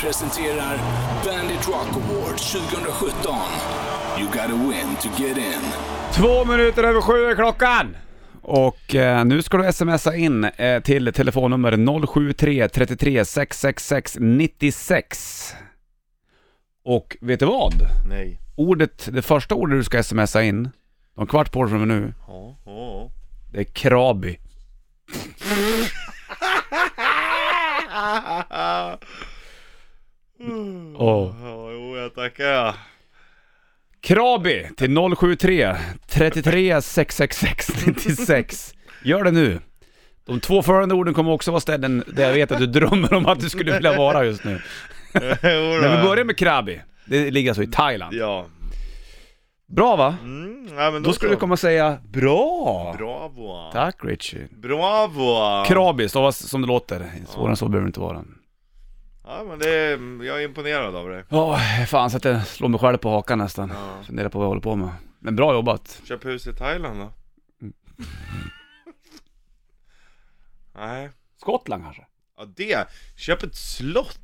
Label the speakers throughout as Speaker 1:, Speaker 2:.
Speaker 1: presenterar Bandit Rock Award 2017. You gotta win to get in.
Speaker 2: Två minuter över sju är klockan! Och eh, nu ska du smsa in eh, till telefonnummer 073 33 666 96. Och vet du vad?
Speaker 3: Nej.
Speaker 2: Ordet, det första ordet du ska smsa in, de kvart på från nu,
Speaker 3: Ja, ja, ja.
Speaker 2: det är krabi. Åh.
Speaker 3: Ja, jo, jag tackar.
Speaker 2: Krabi till 073 33 666 96. Gör det nu. De två följande orden kommer också vara ställen där jag vet att du drömmer om att du skulle vilja vara just nu. Men vi börjar med Krabi. Det ligger alltså i Thailand.
Speaker 3: Ja.
Speaker 2: Bra va?
Speaker 3: Mm, ja men
Speaker 2: Då skulle du
Speaker 3: så.
Speaker 2: komma och säga bra.
Speaker 3: Bravo.
Speaker 2: Tack Richie.
Speaker 3: Bravo.
Speaker 2: Krabi stavas som det låter. Svårare än så behöver det inte vara.
Speaker 3: Ja, men det är, jag är imponerad av dig.
Speaker 2: Ja, fan så att jag slår mig själv på hakan nästan. Funderar på vad jag håller på med. Men bra jobbat.
Speaker 3: Köp hus i Thailand då.
Speaker 2: Mm.
Speaker 3: Nej.
Speaker 2: Skottland kanske?
Speaker 3: Ja, det. Köp ett slott.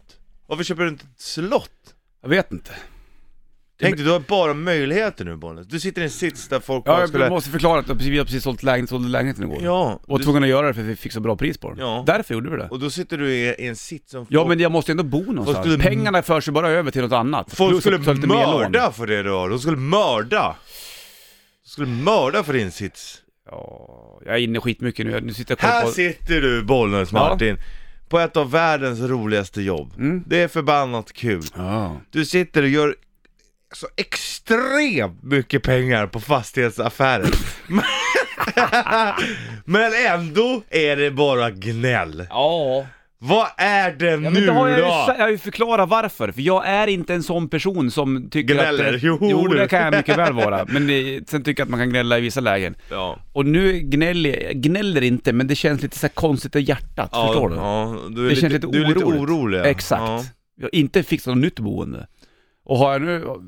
Speaker 3: Varför köper du inte ett slott?
Speaker 2: Jag vet inte.
Speaker 3: Tänk dig, du har bara möjligheter nu Bollnäs. Du sitter i en sits där folk
Speaker 2: Ja,
Speaker 3: bara
Speaker 2: jag
Speaker 3: skulle...
Speaker 2: måste förklara att vi har precis sålt lägenhet, sålde lägenheten igår.
Speaker 3: Ja,
Speaker 2: Och
Speaker 3: du...
Speaker 2: tvungna att göra det för att vi fick så bra pris på den.
Speaker 3: Ja.
Speaker 2: Därför gjorde vi det.
Speaker 3: och då sitter du i, i en sits som folk...
Speaker 2: Ja men jag måste ändå bo någonstans.
Speaker 3: skulle-
Speaker 2: Pengarna förs ju bara över till något annat.
Speaker 3: Folk
Speaker 2: Plus
Speaker 3: skulle
Speaker 2: att jag tar lite mer lån.
Speaker 3: mörda för det då. De skulle mörda. De skulle mörda för din sits.
Speaker 2: Ja, jag är inne skitmycket nu. Jag- Nu sitter jag och kollar
Speaker 3: Här
Speaker 2: på...
Speaker 3: sitter du Bollnäs
Speaker 2: Ja.
Speaker 3: Martin, på ett av världens roligaste jobb. Det är förbannat kul.
Speaker 2: Ja.
Speaker 3: Du sitter och gör så extremt mycket pengar på fastighetsaffärer. Men- Men ändå är det bara gnäll.
Speaker 2: Ja.
Speaker 3: Vad är det
Speaker 2: Ja,
Speaker 3: nu
Speaker 2: men då har jag, ju, sa-
Speaker 3: då?
Speaker 2: jag har ju förklarat varför, för jag är inte en sån person som tycker
Speaker 3: Gnäller.
Speaker 2: att...
Speaker 3: Jo,
Speaker 2: jo
Speaker 3: du.
Speaker 2: det kan jag mycket väl vara, men eh, sen tycker jag att man kan gnälla i vissa lägen.
Speaker 3: Ja.
Speaker 2: Och nu gnäller jag gnäller inte, men det känns lite så här konstigt i hjärtat,
Speaker 3: Ja,
Speaker 2: förstår du?
Speaker 3: Ja, du är,
Speaker 2: Det
Speaker 3: lite,
Speaker 2: känns lite
Speaker 3: du är lite
Speaker 2: oroligt.
Speaker 3: orolig. ja.
Speaker 2: Exakt.
Speaker 3: Ja.
Speaker 2: Jag har inte fixat något nytt boende. Och har jag nu... så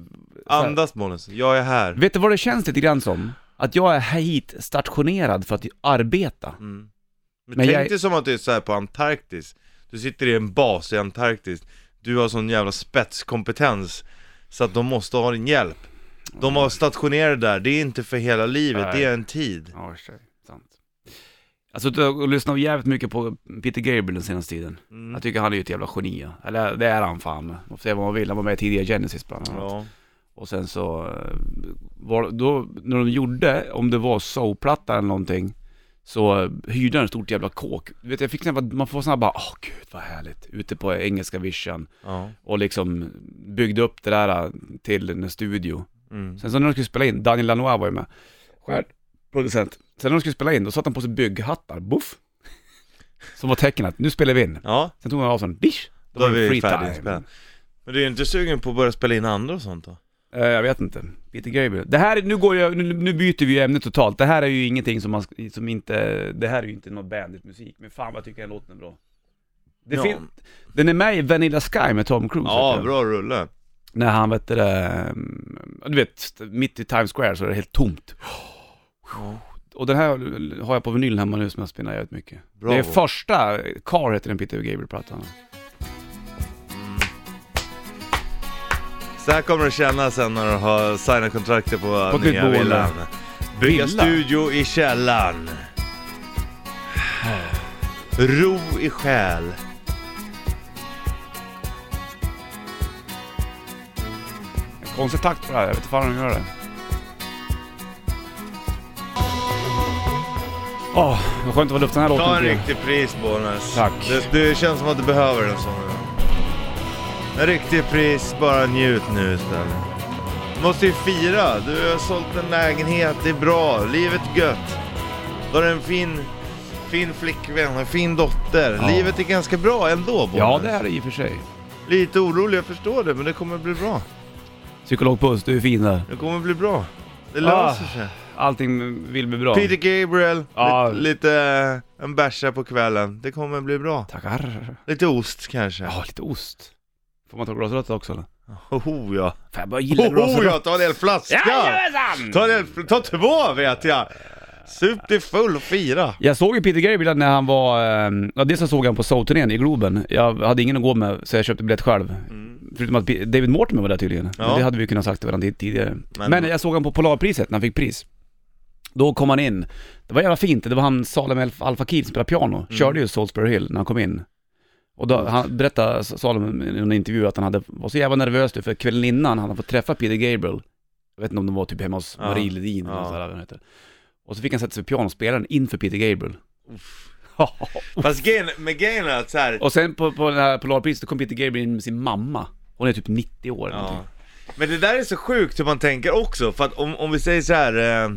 Speaker 2: här-
Speaker 3: Andas Bollnäs, jag är här.
Speaker 2: Vet du vad det känns lite grann som? Att jag är hit stationerad för att arbeta.
Speaker 3: Men,
Speaker 2: Men
Speaker 3: tänk
Speaker 2: jag-
Speaker 3: dig som att du är så här på Antarktis, du sitter i en bas i Antarktis, du har sån jävla spetskompetens så att de måste ha din hjälp. De har stationerat där, det är inte för hela livet,
Speaker 2: Nej.
Speaker 3: det är en tid.
Speaker 2: Ja, i och för sig. Sant. Jag har suttit och lyssnat jävligt mycket på Peter Gabriel den senaste tiden. Jag tycker han är ju ett jävla geni. ja. Eller det är han fan. Man får säga vad man vill. Han var med tidigare i Genesis bland annat.
Speaker 3: Ja.
Speaker 2: Och sen så, eh, var, då, när de gjorde, om det var soulplatta eller någonting, så eh, hyrde han ett stort jävla kåk. Du vet, jag fick sån här, man får sån här bara, åh gud vad härligt, ute på engelska vischan.
Speaker 3: Ja.
Speaker 2: Och liksom byggde upp det där eh, till en studio.
Speaker 3: Mm.
Speaker 2: Sen så när de skulle spela in, Daniel Lanois var ju med, Stjärn, producent. Sen när de skulle spela in, då satte han på sig bygghattar, buff. Som var tecken att nu spelar vi in.
Speaker 3: ja,
Speaker 2: Sen tog han av sig den, dish.
Speaker 3: då, är vi
Speaker 2: time.
Speaker 3: färdiginspelade. Men du är inte sugen på att börja spela in andra och sånt då?
Speaker 2: Eh, jag vet inte. Peter Gabriel. Det här, nu går jag, nu, nu byter vi ju ämne totalt. Det här är ju ingenting som man, sk- som inte, det här är ju inte någon bandit musik. Men fan vad jag tycker den låten är bra. Det
Speaker 3: Ja.
Speaker 2: fin- den är med i Vanilla Sky med Tom Cruise.
Speaker 3: Ja,
Speaker 2: vet du.
Speaker 3: bra rulle.
Speaker 2: När han vet du det, mm, du vet, mitt i Times Square så är det helt tomt. Och den här har jag på vinyl hemma nu som jag spinnar jävligt mycket.
Speaker 3: Bravo.
Speaker 2: Det är första, Car heter den Peter Gabriel-plattan.
Speaker 3: Så här kommer det kännas sen när du har signat kontraktet på,
Speaker 2: På ett nytt
Speaker 3: nya
Speaker 2: boende.
Speaker 3: villan. Bygga
Speaker 2: Villa?
Speaker 3: studio i källaren. Ro i själ.
Speaker 2: En konstig takt på det här, jag vet inte fan hur de gör det. Åh, vad skönt att få lufta den här
Speaker 3: Ta
Speaker 2: låten
Speaker 3: en
Speaker 2: till.
Speaker 3: riktig pris Bollnäs.
Speaker 2: Tack.
Speaker 3: Det, det känns som att du behöver en sån. En riktig pris, bara njut nu istället. Du måste ju fira. Du har sålt en lägenhet, det är bra. Livet är gött. Du har en fin, fin flickvän, en fin dotter.
Speaker 2: Ja.
Speaker 3: Livet är ganska bra ändå Bollnäs.
Speaker 2: Ja, det är det i och för sig.
Speaker 3: Lite orolig, jag förstår det, men det kommer bli bra.
Speaker 2: Psykolog Puss, du är fin där.
Speaker 3: Det kommer bli bra. Det
Speaker 2: Ah.
Speaker 3: löser sig.
Speaker 2: Allting vill bli bra.
Speaker 3: Peter Gabriel,
Speaker 2: Ja.
Speaker 3: lite, lite eh, en bärsa på kvällen. Det kommer bli bra.
Speaker 2: Tackar.
Speaker 3: Lite ost kanske.
Speaker 2: Ja, lite ost. Får man ta glasrötter också eller?
Speaker 3: Hoho Oh, ja.
Speaker 2: Fan, jag börjar gilla
Speaker 3: Hoho
Speaker 2: glasrötter.
Speaker 3: ja, ta en hel flaska!
Speaker 2: Jajamensan!
Speaker 3: Ta, en hel, ta två vet jag! Sup dig full och fira.
Speaker 2: Jag såg ju Peter Gabriel när han var, eh, ja dels så såg jag han på Soul-turnén i Globen. Jag hade ingen att gå med så jag köpte biljett själv. Förutom att P- David Mortimer var där tydligen.
Speaker 3: Mm. Ja.
Speaker 2: Men Det hade vi kunnat sagt till varandra tid- tidigare.
Speaker 3: Men-
Speaker 2: Men, jag såg han på Polarpriset när han fick pris. Då kom han in. Det var jävla fint, det var han Salem Al- Al Fakir som spelade piano.
Speaker 3: Mm.
Speaker 2: Körde ju Salisbury Hill när han kom in. Och då, han berättade Salem i en intervju att han hade, var så jävla nervös nu för kvällen innan han hade fått träffa Peter Gabriel. Jag vet inte om de var typ hemma hos
Speaker 3: Ja.
Speaker 2: Marie Ledin
Speaker 3: Ja.
Speaker 2: eller sådär, vad hon heter. Och så fick han sätta sig vid pianospelaren inför Peter Gabriel. Ja.
Speaker 3: Fast grejen, med grejen är att så här,
Speaker 2: och sen på, på den här Polarpriset, då kom Peter Gabriel in med sin mamma. Hon är typ 90 år eller
Speaker 3: Ja.
Speaker 2: någonting.
Speaker 3: Men det där är så sjukt hur man tänker också, för att om, om vi säger så här. Eh,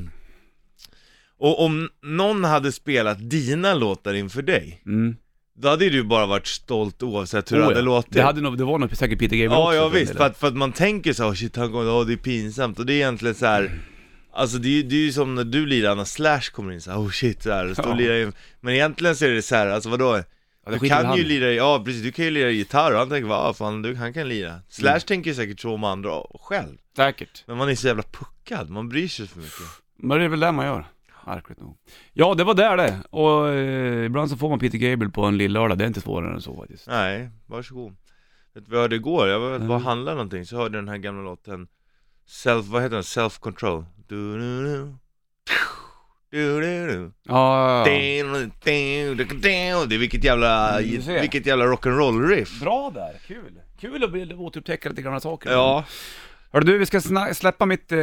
Speaker 3: och om någon hade spelat dina låtar inför dig,
Speaker 2: Mm.
Speaker 3: då hade ju du bara varit stolt oavsett hur
Speaker 2: Oh,
Speaker 3: det hade
Speaker 2: ja.
Speaker 3: låtit.
Speaker 2: Det, hade nog, det var nog säkert Peter Gabriel
Speaker 3: ja,
Speaker 2: också.
Speaker 3: ja
Speaker 2: för den
Speaker 3: visst,
Speaker 2: delen.
Speaker 3: för att, för att man tänker så här, "Oh, shit han kommer, åh det är pinsamt, och det är egentligen så här. Alltså det är, ju- det är ju som när du lirar när Slash kommer in så här, oh shit så här, och står och
Speaker 2: Ja.
Speaker 3: lirar in. Men egentligen så är det så här, alltså vadå?
Speaker 2: Ja, det
Speaker 3: Du
Speaker 2: skiter väl
Speaker 3: kan
Speaker 2: han
Speaker 3: ju
Speaker 2: i.
Speaker 3: lira, ja precis, du kan ju lira gitarr och han tänker bara, ah, fan du, han kan lira Slash
Speaker 2: Mm.
Speaker 3: tänker ju säkert så om andra själv
Speaker 2: Säkert.
Speaker 3: Men man är så jävla puckad, man bryr sig för mycket
Speaker 2: Men det är väl det man gör. Märkligt nog. Ja, det var där det. Och eh, ibland så får man Peter Gabriel på en lill-lördag. Det är inte svårare än så faktiskt.
Speaker 3: Nej, varsågod Vet du vad jag hörde igår? Jag var, var och
Speaker 2: Mm.
Speaker 3: handlade någonting, så hörde jag den här gamla låten Self, vad heter den? Self control du du du du du du
Speaker 2: Ja, ja, ja.
Speaker 3: Du, du, du, du. Det är vilket jävla,
Speaker 2: Mm, du ser.
Speaker 3: vilket jävla rock'n'roll riff
Speaker 2: Bra där, kul. Kul att bli- återupptäcka lite gamla saker.
Speaker 3: Ja,
Speaker 2: Hörru du, vi ska sna- släppa mitt, eh,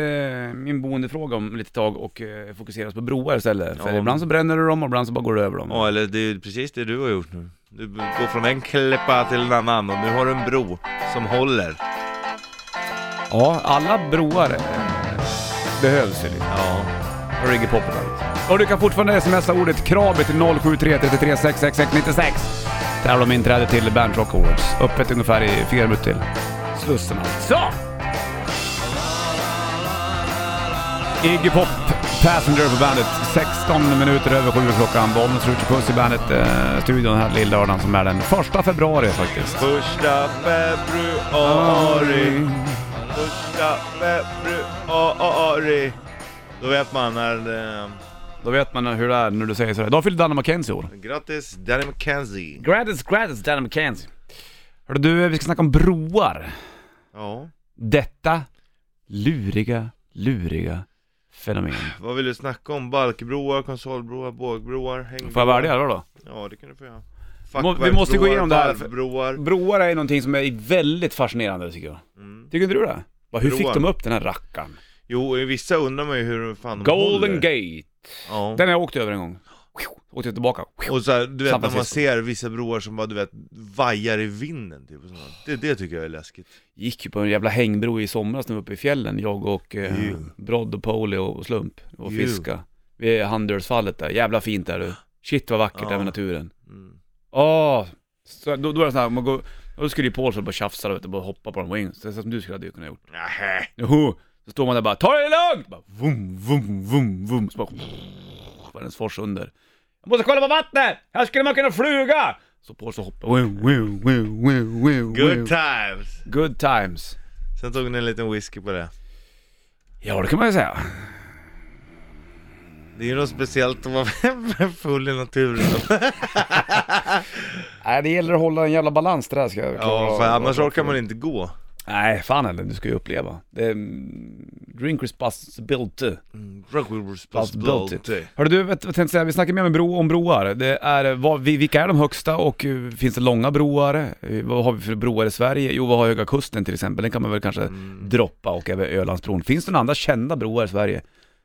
Speaker 2: min boendefråga om lite tag och eh, fokusera oss på broar istället. För
Speaker 3: Ja.
Speaker 2: ibland så bränner du dem och ibland så bara går du över dem.
Speaker 3: ja eller det är precis det du har gjort nu Du går från en klippa till en annan och nu har du en bro som håller
Speaker 2: Ja, alla broar eh, behövs ju lite.
Speaker 3: Ja
Speaker 2: Och Riggy Popperlight. Och du kan fortfarande smsa ordet KRABE till 0733366696. Tävla om inträde till Band Rock Awards. Öppet ungefär i fyra minuter till. Slussen alltså. Så! Iggy Pop, Passenger på bandet. 16 minuter över sju är klockan. Bollnäs Ritchie Puss i bandet-studion här lillördagen som är den första februari faktiskt.
Speaker 3: Första februari, första februari Då vet man när... Eh,
Speaker 2: Då vet man hur det är när du säger sådär. Då fyllde Danne McKenzie år.
Speaker 3: grattis Danny McKenzie
Speaker 2: Grattis, grattis Danne McKenzie. Hörru du, eh, vi ska snacka om broar.
Speaker 3: Ja,
Speaker 2: Detta luriga, luriga fenomen.
Speaker 3: vad vill du snacka om? Balkbroar, konsolbroar, bågbroar, hängbroar?
Speaker 2: Får jag välja då? då?
Speaker 3: Ja, det kan du få göra
Speaker 2: Må- vi måste gå igenom det här.
Speaker 3: Varvbroar
Speaker 2: Broar är någonting som är väldigt fascinerande tycker jag.
Speaker 3: mm.
Speaker 2: Tycker inte du det? Bara, hur
Speaker 3: Broar.
Speaker 2: fick de upp den här rackaren?
Speaker 3: Jo, i vissa undrar man ju hur fan de
Speaker 2: Golden
Speaker 3: håller.
Speaker 2: Gate.
Speaker 3: Ja,
Speaker 2: Den har jag åkt över en gång. Åkte jag tillbaka.
Speaker 3: och så här, du vet
Speaker 2: San
Speaker 3: när man
Speaker 2: Francisco.
Speaker 3: ser vissa broar som bara du vet vajar i vinden typ och sånt. Det, det tycker jag är läskigt
Speaker 2: Gick ju på en jävla hängbro i somras när vi var uppe i fjällen, jag och eh,
Speaker 3: Ew.
Speaker 2: Brodd och Poli och och Slump och
Speaker 3: Ew.
Speaker 2: fiska. Vid Handölsfallet där, jävla fint där du. Shit vad vackert
Speaker 3: Ja.
Speaker 2: där med naturen.
Speaker 3: mm.
Speaker 2: Åh! Så då, då var det sån här, man går, och då skulle ju Paulsson bara tjafsa och bara hoppa på en wing, så, så som du skulle ha kunnat gjort.
Speaker 3: Nähä.
Speaker 2: Joho! Så står man där bara, ta det lugnt! Bara, vum, vum, vum, vum, så bara, Vänersfors under. Jag måste kolla på vattnet! Här skulle man kunna fluga! Så Paulsson hoppar, wum, wum, wum, wum, wum,
Speaker 3: Good
Speaker 2: wum.
Speaker 3: times!
Speaker 2: Good times.
Speaker 3: Sen tog ni en liten whisky på det.
Speaker 2: Ja, det kan man ju säga.
Speaker 3: Det är ju något speciellt att vara full i naturen.
Speaker 2: Nej, det gäller att hålla en jävla balans det där ska jag
Speaker 3: Ja, för annars orkar man inte gå.
Speaker 2: Nej, fan heller, du ska ju uppleva. Det är, mm, drink responsibility.
Speaker 3: Mm,
Speaker 2: Possibility. Hörru du, vet- jag tänkte säga, vi snackar mer om, bro, om broar. Det är, eh, vad, vi- vilka är de högsta och eh, finns det långa broar? Eh, Vad har vi för broar i Sverige? Jo, vad har Höga Kusten till exempel? Den kan man väl kanske
Speaker 3: Mm.
Speaker 2: droppa och även Ölandsbron. Finns det några andra kända broar i Sverige?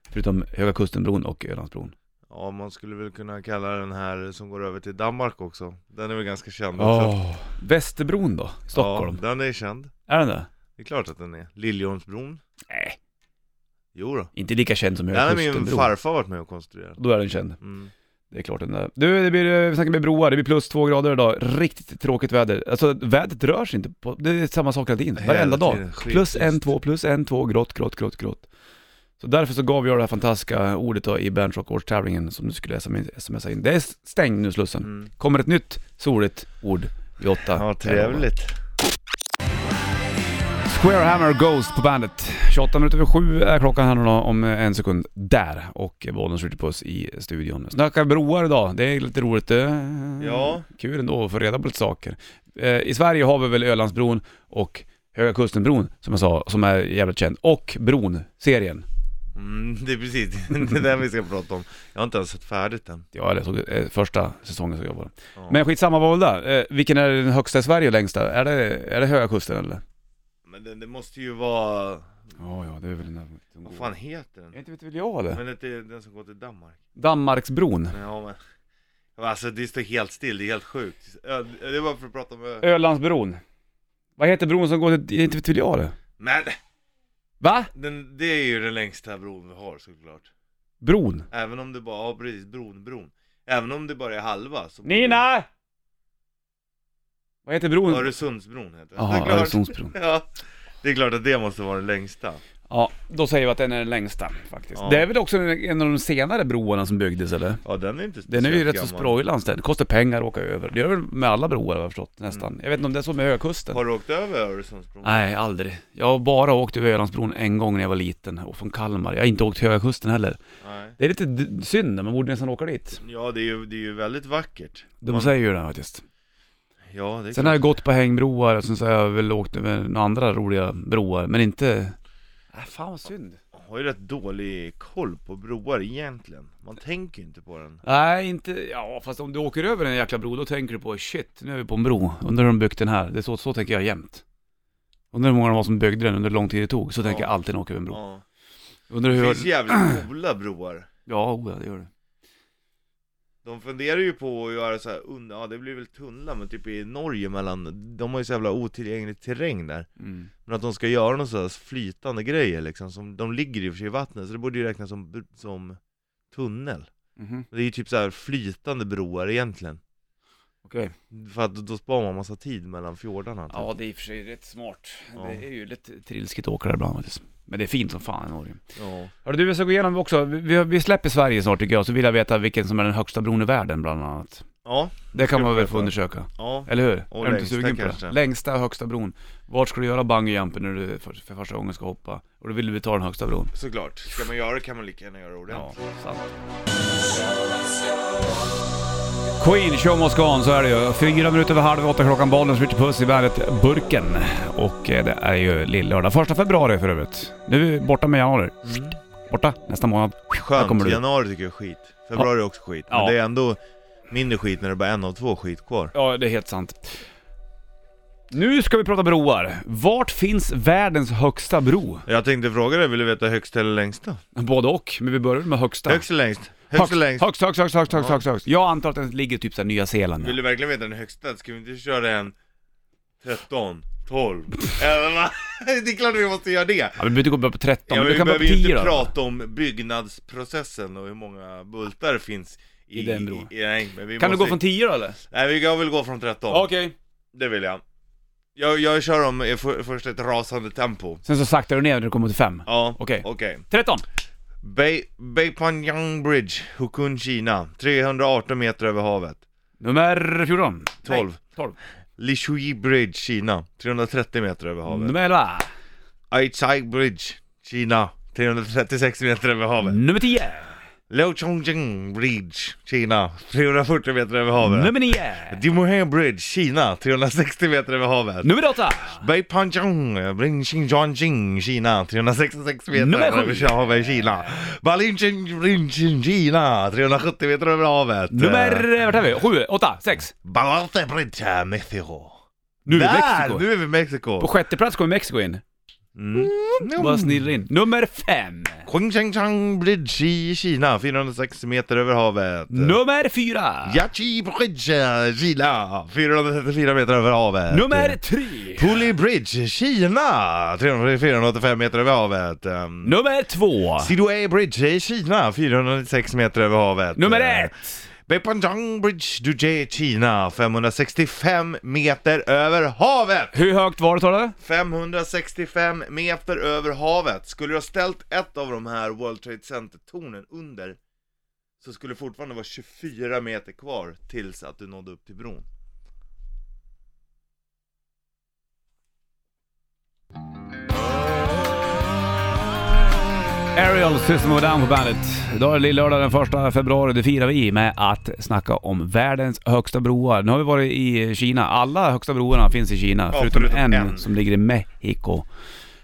Speaker 2: Förutom Höga Kustenbron och Ölandsbron.
Speaker 3: Ja, man skulle väl kunna kalla den här som går över till Danmark också. Den är väl ganska känd också.
Speaker 2: Oh. Västerbron då, i Stockholm.
Speaker 3: Ja, den är känd.
Speaker 2: Är den det?
Speaker 3: Det är klart att den är. Liljeholmsbron.
Speaker 2: Nej,
Speaker 3: Jo då.
Speaker 2: inte lika känd som
Speaker 3: Den
Speaker 2: Höga
Speaker 3: har min
Speaker 2: Kustenbron.
Speaker 3: farfar varit med och konstruerat.
Speaker 2: Då är den känd.
Speaker 3: Mm.
Speaker 2: Det är klart den där. Du, det blir, eh, vi snackar med broar, det blir plus två grader idag. Riktigt tråkigt väder. Alltså vädret rör sig inte, på, det är samma sak hela tiden, varenda dag.
Speaker 3: Hela tiden,
Speaker 2: Plus
Speaker 3: skittrist.
Speaker 2: en, två, plus en, två, grått, grått, grått, grått. Så därför så gav jag det här fantastiska ordet då i Bernt Rock årstävlingen som du skulle smsa in. Det är stängd nu Slussen.
Speaker 3: Mm.
Speaker 2: Kommer ett nytt soligt ord vid åtta.
Speaker 3: Ja, trevligt.
Speaker 2: Squarehammer Ghost på bandet. 28 minuter över sju är klockan här nu då, om eh, en sekund. Där! Och Bollnäs Ritchie Puss i studion. Snackar broar idag, det är lite roligt. eh,
Speaker 3: Mm. Ja.
Speaker 2: Kul ändå att få reda på lite saker. Eh, I Sverige har vi väl Ölandsbron och Höga Kustenbron som jag sa, som är jävligt känd. Och Bron, serien.
Speaker 3: Mm, det är precis det där vi ska prata om. Jag har inte ens sett färdigt den.
Speaker 2: Ja, eller såg eh, första säsongen såg jag bara.
Speaker 3: Ja.
Speaker 2: Men skitsamma vad var det där. Eh, vilken är den högsta i Sverige och längsta? Är det, är det Höga Kusten eller?
Speaker 3: Men det, det måste ju vara...
Speaker 2: Ja, ja, det är väl den där...
Speaker 3: Vad fan heter den?
Speaker 2: Inte vet väl jag det?
Speaker 3: Men det är den som går till Danmark.
Speaker 2: Danmarksbron.
Speaker 3: Men Ja, men... Alltså det står helt still, det är helt sjukt. Ö, Det var för att prata om... ö.
Speaker 2: Ölandsbron. Vad heter bron som går till... Inte vet väl jag det?
Speaker 3: Men!
Speaker 2: Va?
Speaker 3: Den, det är ju den längsta bron vi har såklart.
Speaker 2: Bron.
Speaker 3: Även om det bara, ja precis, bron, bron. Även om det bara är halva så...
Speaker 2: Nina! Vad heter bron?
Speaker 3: Öresundsbron heter den. Det är
Speaker 2: Jaha,
Speaker 3: klart.
Speaker 2: Öresundsbron.
Speaker 3: Ja, det är klart att det måste vara den längsta.
Speaker 2: Ja, då säger vi att den är den längsta faktiskt.
Speaker 3: Ja.
Speaker 2: Det är väl också en av de senare broarna som byggdes eller?
Speaker 3: Ja den är inte
Speaker 2: Den är ju
Speaker 3: speciellt
Speaker 2: rätt så
Speaker 3: gammal.
Speaker 2: sprojlans den. Kostar pengar att åka över. Det gör väl med alla broar har jag förstått nästan. Jag vet inte om det är så med Högkusten.
Speaker 3: Mm. Har du åkt över Öresundsbron?
Speaker 2: Nej, aldrig. Jag har bara åkt över Ölandsbron en gång när jag var liten och från Kalmar. Jag har inte åkt Höga Kusten heller.
Speaker 3: Nej.
Speaker 2: Det är lite d- synd, man borde nästan åka dit.
Speaker 3: Ja det är ju, det är ju väldigt vackert.
Speaker 2: De
Speaker 3: Man-
Speaker 2: säger ju det faktiskt.
Speaker 3: Ja det är
Speaker 2: Sen har jag gått på hängbroar och sen så har jag väl åkt över några andra roliga broar, men inte... Äh, fan vad synd.
Speaker 3: Jag har ju rätt dålig koll på broar egentligen. Man tänker ju inte på den.
Speaker 2: Nej, inte... Ja, fast om du åker över en jäkla bro, då tänker du på shit, nu är vi på en bro. Undrar hur de byggt den här. Det är så, så tänker jag jämt. Undrar hur många de var som byggde den, under hur lång tid det tog. Så tänker
Speaker 3: Ja.
Speaker 2: jag alltid när jag åker över en bro.
Speaker 3: Ja.
Speaker 2: Undrar
Speaker 3: Det
Speaker 2: hur...
Speaker 3: finns jävligt coola broar.
Speaker 2: Ja, oh, ja, det gör det.
Speaker 3: De funderar ju på att göra så här, und- ja det blir väl tunnlar men typ i Norge mellan, de har ju så jävla otillgänglig terräng där.
Speaker 2: Mm.
Speaker 3: Men att de ska göra någon sån här flytande grejer liksom, som, de ligger i och för sig i vattnet så det borde ju räknas som, br- som tunnel.
Speaker 2: Mhm.
Speaker 3: Det är ju typ så här flytande broar egentligen.
Speaker 2: Okej.
Speaker 3: För att då sparar man massa tid mellan fjordarna. Typ.
Speaker 2: Ja, det är i och för sig rätt smart.
Speaker 3: Ja.
Speaker 2: Det är ju lite trilskigt att åka där ibland faktiskt. Men det är fint som fan i Norge.
Speaker 3: ja.
Speaker 2: Hörru du, vi ska gå igenom också. Vi- Vi, vi släpper Sverige snart tycker jag, så vill jag veta vilken som är den högsta bron i världen bland annat.
Speaker 3: Ja,
Speaker 2: Det kan
Speaker 3: Ska
Speaker 2: man
Speaker 3: vi
Speaker 2: väl få
Speaker 3: veta.
Speaker 2: undersöka,
Speaker 3: ja.
Speaker 2: eller hur?
Speaker 3: Och
Speaker 2: är du inte
Speaker 3: längsta
Speaker 2: sugen på det?
Speaker 3: kanske.
Speaker 2: Längsta och högsta bron. Vart ska du göra bungyjumpen när du för, för första gången ska hoppa? Och då vill vi ta den högsta bron.
Speaker 3: Såklart. Ska man göra det kan man lika gärna göra
Speaker 2: Ja,
Speaker 3: ordentligt.
Speaker 2: sant. Queen, show must go on, så är det ju. Fyra minuter över halv åtta klockan, bollen slår till puss i bandet Burken. Och eh, det är ju lill-lördag, första februari för övrigt. Nu är vi borta med januari.
Speaker 3: Mm.
Speaker 2: Borta nästa månad. Där kommer
Speaker 3: Skönt,
Speaker 2: du.
Speaker 3: januari tycker jag är skit. Februari är också skit. Men
Speaker 2: Ja.
Speaker 3: det är ändå mindre skit när det bara är en av två skit kvar.
Speaker 2: Ja, det är helt sant. Nu ska vi prata broar. Vart finns världens högsta bro?
Speaker 3: Jag tänkte fråga dig, vill du veta högst eller längsta?
Speaker 2: Både och, men vi börjar med högsta.
Speaker 3: Högst eller längst? Högst eller längst?
Speaker 2: Högst, högst, högst, högst, högst, högst, högst. Jag antar att den ligger typ såhär Nya Zeeland.
Speaker 3: Vill du verkligen veta den högsta? Ska vi inte köra en 13, 12, 11? Det är klart vi måste göra det!
Speaker 2: Ja, vi behöver inte gå upp på 13, men
Speaker 3: Ja, men
Speaker 2: vi
Speaker 3: vi
Speaker 2: kan börja
Speaker 3: behöver
Speaker 2: på
Speaker 3: ju
Speaker 2: 10
Speaker 3: inte
Speaker 2: då.
Speaker 3: prata om byggnadsprocessen och hur många bultar det finns i,
Speaker 2: I den bron.
Speaker 3: i- nej, men vi
Speaker 2: Kan du
Speaker 3: måste,
Speaker 2: gå från 10 då eller?
Speaker 3: Nej, vi- jag vill gå från 13.
Speaker 2: Okej.
Speaker 3: Det vill jag. Jag, jag kör dem i för, först ett rasande tempo.
Speaker 2: Sen så saktar du ner när du kommer till 5.
Speaker 3: Ja,
Speaker 2: Okej.
Speaker 3: okej.
Speaker 2: 13!
Speaker 3: Bei- Beipanyang Bridge, Hukun, Kina. 318 meter över havet.
Speaker 2: Nummer 14.
Speaker 3: 12.
Speaker 2: Nej, 12.
Speaker 3: Lishui Bridge, Kina. 330 meter över havet.
Speaker 2: Nummer 11.
Speaker 3: Aichai Bridge, Kina. 336 meter över havet.
Speaker 2: Nummer 10.
Speaker 3: Liaochongjing Bridge, Kina. 340 meter över havet.
Speaker 2: Nummer 9.
Speaker 3: Dimohe Bridge, Kina. 360 meter över havet.
Speaker 2: Nummer 8.
Speaker 3: Beipanjiang, Bringxingjiangjing, Kina, 366 meter
Speaker 2: Nummer sju.
Speaker 3: över havet, Kina. Balinjingjing, Kina, 370 meter över havet.
Speaker 2: Nummer... eh, Vart är vi? 7, 8, 6.
Speaker 3: Balate Bridge, Mexiko.
Speaker 2: Nu är vi i
Speaker 3: Där,
Speaker 2: Mexiko.
Speaker 3: Nu är vi i Mexiko.
Speaker 2: På sjätte plats kommer Mexiko in.
Speaker 3: Mm.
Speaker 2: Bara snirrar in. Nummer fem.
Speaker 3: Qingchengchang Bridge i Kina, 460 meter över havet.
Speaker 2: Nummer fyra.
Speaker 3: Yachi Bridge, eh, Kina, 434 meter över havet.
Speaker 2: Nummer tre.
Speaker 3: Puli Bridge, Kina, 485 meter över havet. Ehm,
Speaker 2: Nummer två.
Speaker 3: Sidway Bridge i Kina, 496 meter över havet.
Speaker 2: Nummer
Speaker 3: Eh,
Speaker 2: ett.
Speaker 3: Beipanjang Bridge Duje Kina, 565 meter över havet!
Speaker 2: Hur högt var det sa du?
Speaker 3: 565 meter över havet! Skulle du ha ställt ett av de här World Trade Center-tornen under så skulle det fortfarande vara 24 meter kvar tills att du nådde upp till bron.
Speaker 2: Ariel, System of a Down på bandet. Idag är det lördag den 1 februari, det firar vi med att snacka om världens högsta broar. Nu har vi varit i Kina, alla högsta broarna finns i Kina,
Speaker 3: Ja,
Speaker 2: förutom,
Speaker 3: förutom
Speaker 2: en,
Speaker 3: en.
Speaker 2: som ligger i Mexiko.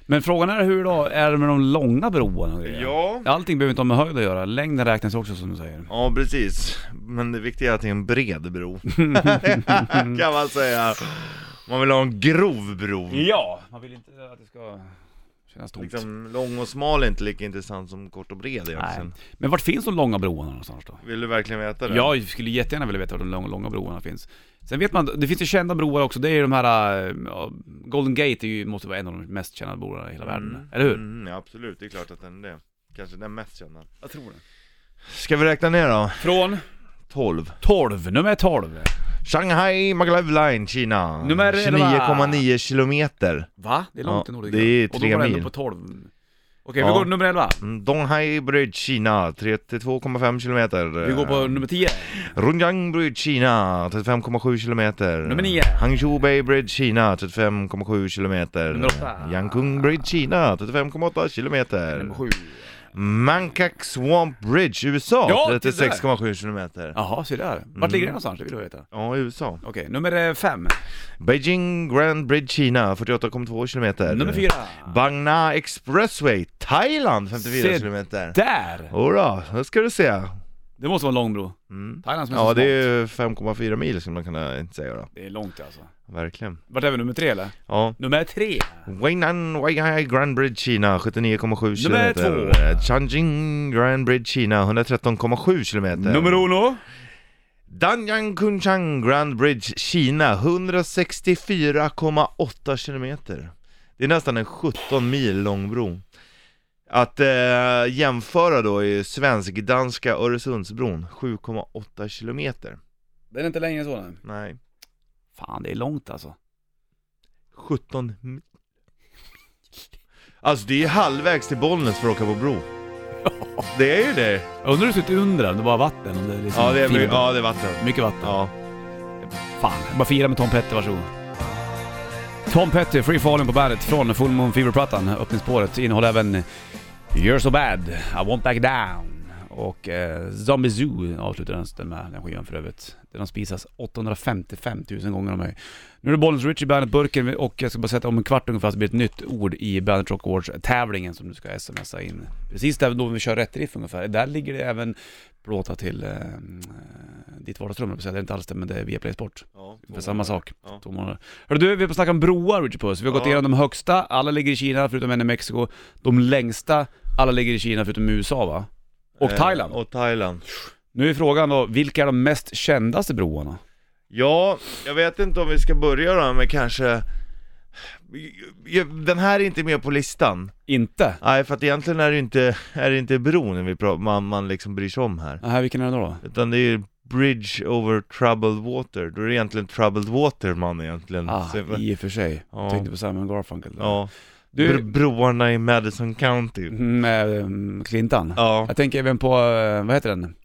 Speaker 2: Men frågan är hur då är det med de långa broarna? och grejer?
Speaker 3: Ja.
Speaker 2: Allting behöver inte ha med höjd att göra, längden räknas också som du säger.
Speaker 3: Ja, precis. Men det viktiga är att det är en bred bro. kan man säga. Man vill ha en grov bro.
Speaker 2: Ja, man vill inte att det ska kännas tomt.
Speaker 3: Liksom lång och smal är inte lika intressant som kort och bred
Speaker 2: Nej.
Speaker 3: egentligen.
Speaker 2: Men vart finns de långa broarna någonstans då?
Speaker 3: Vill du verkligen veta det?
Speaker 2: Jag skulle jättegärna vilja veta var de långa, långa broarna finns. Sen vet man, det finns ju kända broar också, det är ju de här, eh, ja, Golden Gate är ju, måste vara en av de mest kända broarna i hela världen, eller hur?
Speaker 3: Mm, ja, absolut, det är klart att den är det. Kanske den mest kända.
Speaker 2: Jag tror det.
Speaker 3: Ska vi räkna ner då?
Speaker 2: Från
Speaker 3: 12.
Speaker 2: 12, nummer 12.
Speaker 3: Shanghai Maglev Line, Kina.
Speaker 2: Nummer elva.
Speaker 3: 29,9 kilometer.
Speaker 2: Va? Det är långt
Speaker 3: Ja,
Speaker 2: till Nordica.
Speaker 3: det är
Speaker 2: Och då
Speaker 3: tre
Speaker 2: var det
Speaker 3: mil.
Speaker 2: ändå på 12. Okej, vi
Speaker 3: Ja.
Speaker 2: går till nummer 11.
Speaker 3: Mm, Donghai Bridge, Kina. 32,5 kilometer. Eh,
Speaker 2: Vi går på nummer 10.
Speaker 3: Runjiang Bridge, Kina, 35,7 kilometer.
Speaker 2: Nummer nio.
Speaker 3: Hangzhou Bay Bridge, Kina, 35,7 kilometer.
Speaker 2: Nummer åtta.
Speaker 3: Yangon Bridge, Kina, 35,8 kilometer.
Speaker 2: Nummer 7.
Speaker 3: Mankack Swamp Bridge, USA,
Speaker 2: Ja, titta där.
Speaker 3: 36,7 kilometer.
Speaker 2: Jaha, se där. Vart ligger det
Speaker 3: Mm.
Speaker 2: någonstans? Det vill jag veta.
Speaker 3: Ja, USA.
Speaker 2: Okej, nummer eh, 5.
Speaker 3: Beijing Grand Bridge, Kina, 48,2 kilometer.
Speaker 2: Nummer 4.
Speaker 3: Bangna Expressway, Thailand, 54
Speaker 2: Se
Speaker 3: kilometer.
Speaker 2: Där!
Speaker 3: Jodå, nu ska du se.
Speaker 2: Det måste vara en lång bro.
Speaker 3: Mm.
Speaker 2: Thailand som är
Speaker 3: Ja,
Speaker 2: så
Speaker 3: det
Speaker 2: smart.
Speaker 3: är ju 5,4 mil skulle man kunna säga då.
Speaker 2: det är långt alltså.
Speaker 3: Verkligen.
Speaker 2: Vart är vi, nummer 3 eller?
Speaker 3: Ja.
Speaker 2: Nummer 3.
Speaker 3: Weinan Weihai Grand Bridge Kina 79,7
Speaker 2: Nummer
Speaker 3: kilometer.
Speaker 2: två.
Speaker 3: Eh, Changjing Grand Bridge Kina 113,7 kilometer.
Speaker 2: Nummer 1.
Speaker 3: Danyang Kunchang Grand Bridge Kina 164,8 kilometer. Det är nästan en 17 mil lång bro. Att eh, jämföra då är svensk-danska Öresundsbron 7,8 kilometer.
Speaker 2: Den är inte längre än så nej.
Speaker 3: Nej,
Speaker 2: Fan, det är långt alltså.
Speaker 3: 17 mil. Alltså det är halvvägs till Bollnäs för att åka på bro. Det är ju det.
Speaker 2: Jag undrar hur det ser ut under om det bara är vatten, om det är liksom
Speaker 3: Ja det är, my-
Speaker 2: fiber.
Speaker 3: ja, det är vatten.
Speaker 2: mycket vatten.
Speaker 3: Ja.
Speaker 2: Fan, bara fira med Tom Petty, varsågod. Tom Petty, Free Falling på bandet från Full Moon Fever-plattan. Öppningsspåret innehåller även You're So Bad, I Won't Back Down och eh, Zombie Zoo avslutar den- den med, den skivan för övrigt. Den har spisats 855 000 gånger av mig. Nu är det Bollens Richie, bandet Burken och jag ska bara sätta om en kvart ungefär så blir det ett nytt ord i Bandet Rock Awards-tävlingen som du ska smsa in. Precis där då vi kör rätt riff ungefär. Där ligger det även plåtar till eh, ditt vardagsrum, jag vill säga. det är inte alls det men det är via Play Sport.
Speaker 3: ja
Speaker 2: För samma sak,
Speaker 3: Ja.
Speaker 2: två månader. Hörru du, vi har snackat om broar Richard Puss. Vi har gått
Speaker 3: Ja.
Speaker 2: igenom de högsta, alla ligger i Kina förutom en i Mexiko. De längsta, alla ligger i Kina förutom USA va? Och
Speaker 3: Eh,
Speaker 2: Thailand.
Speaker 3: Och Thailand.
Speaker 2: Nu är frågan då, vilka är de mest kändaste broarna?
Speaker 3: Ja, jag vet inte om vi ska börja då med kanske... Den här är inte med på listan.
Speaker 2: Inte?
Speaker 3: Nej, för att egentligen är det inte, är det inte bron vi pra- man, man liksom bryr sig om här.
Speaker 2: Nähä, vilken är det då?
Speaker 3: Utan det är ju Bridge over troubled water. Då är det egentligen troubled water man egentligen...
Speaker 2: Ah,
Speaker 3: ser-
Speaker 2: i och för sig.
Speaker 3: Ja.
Speaker 2: Tänkte på Simon Garfunkel.
Speaker 3: ja.
Speaker 2: Du-
Speaker 3: Bro- broarna i Madison County.
Speaker 2: Med mm, Clintan.
Speaker 3: Ja.
Speaker 2: Jag tänker även på, eh, vad heter den?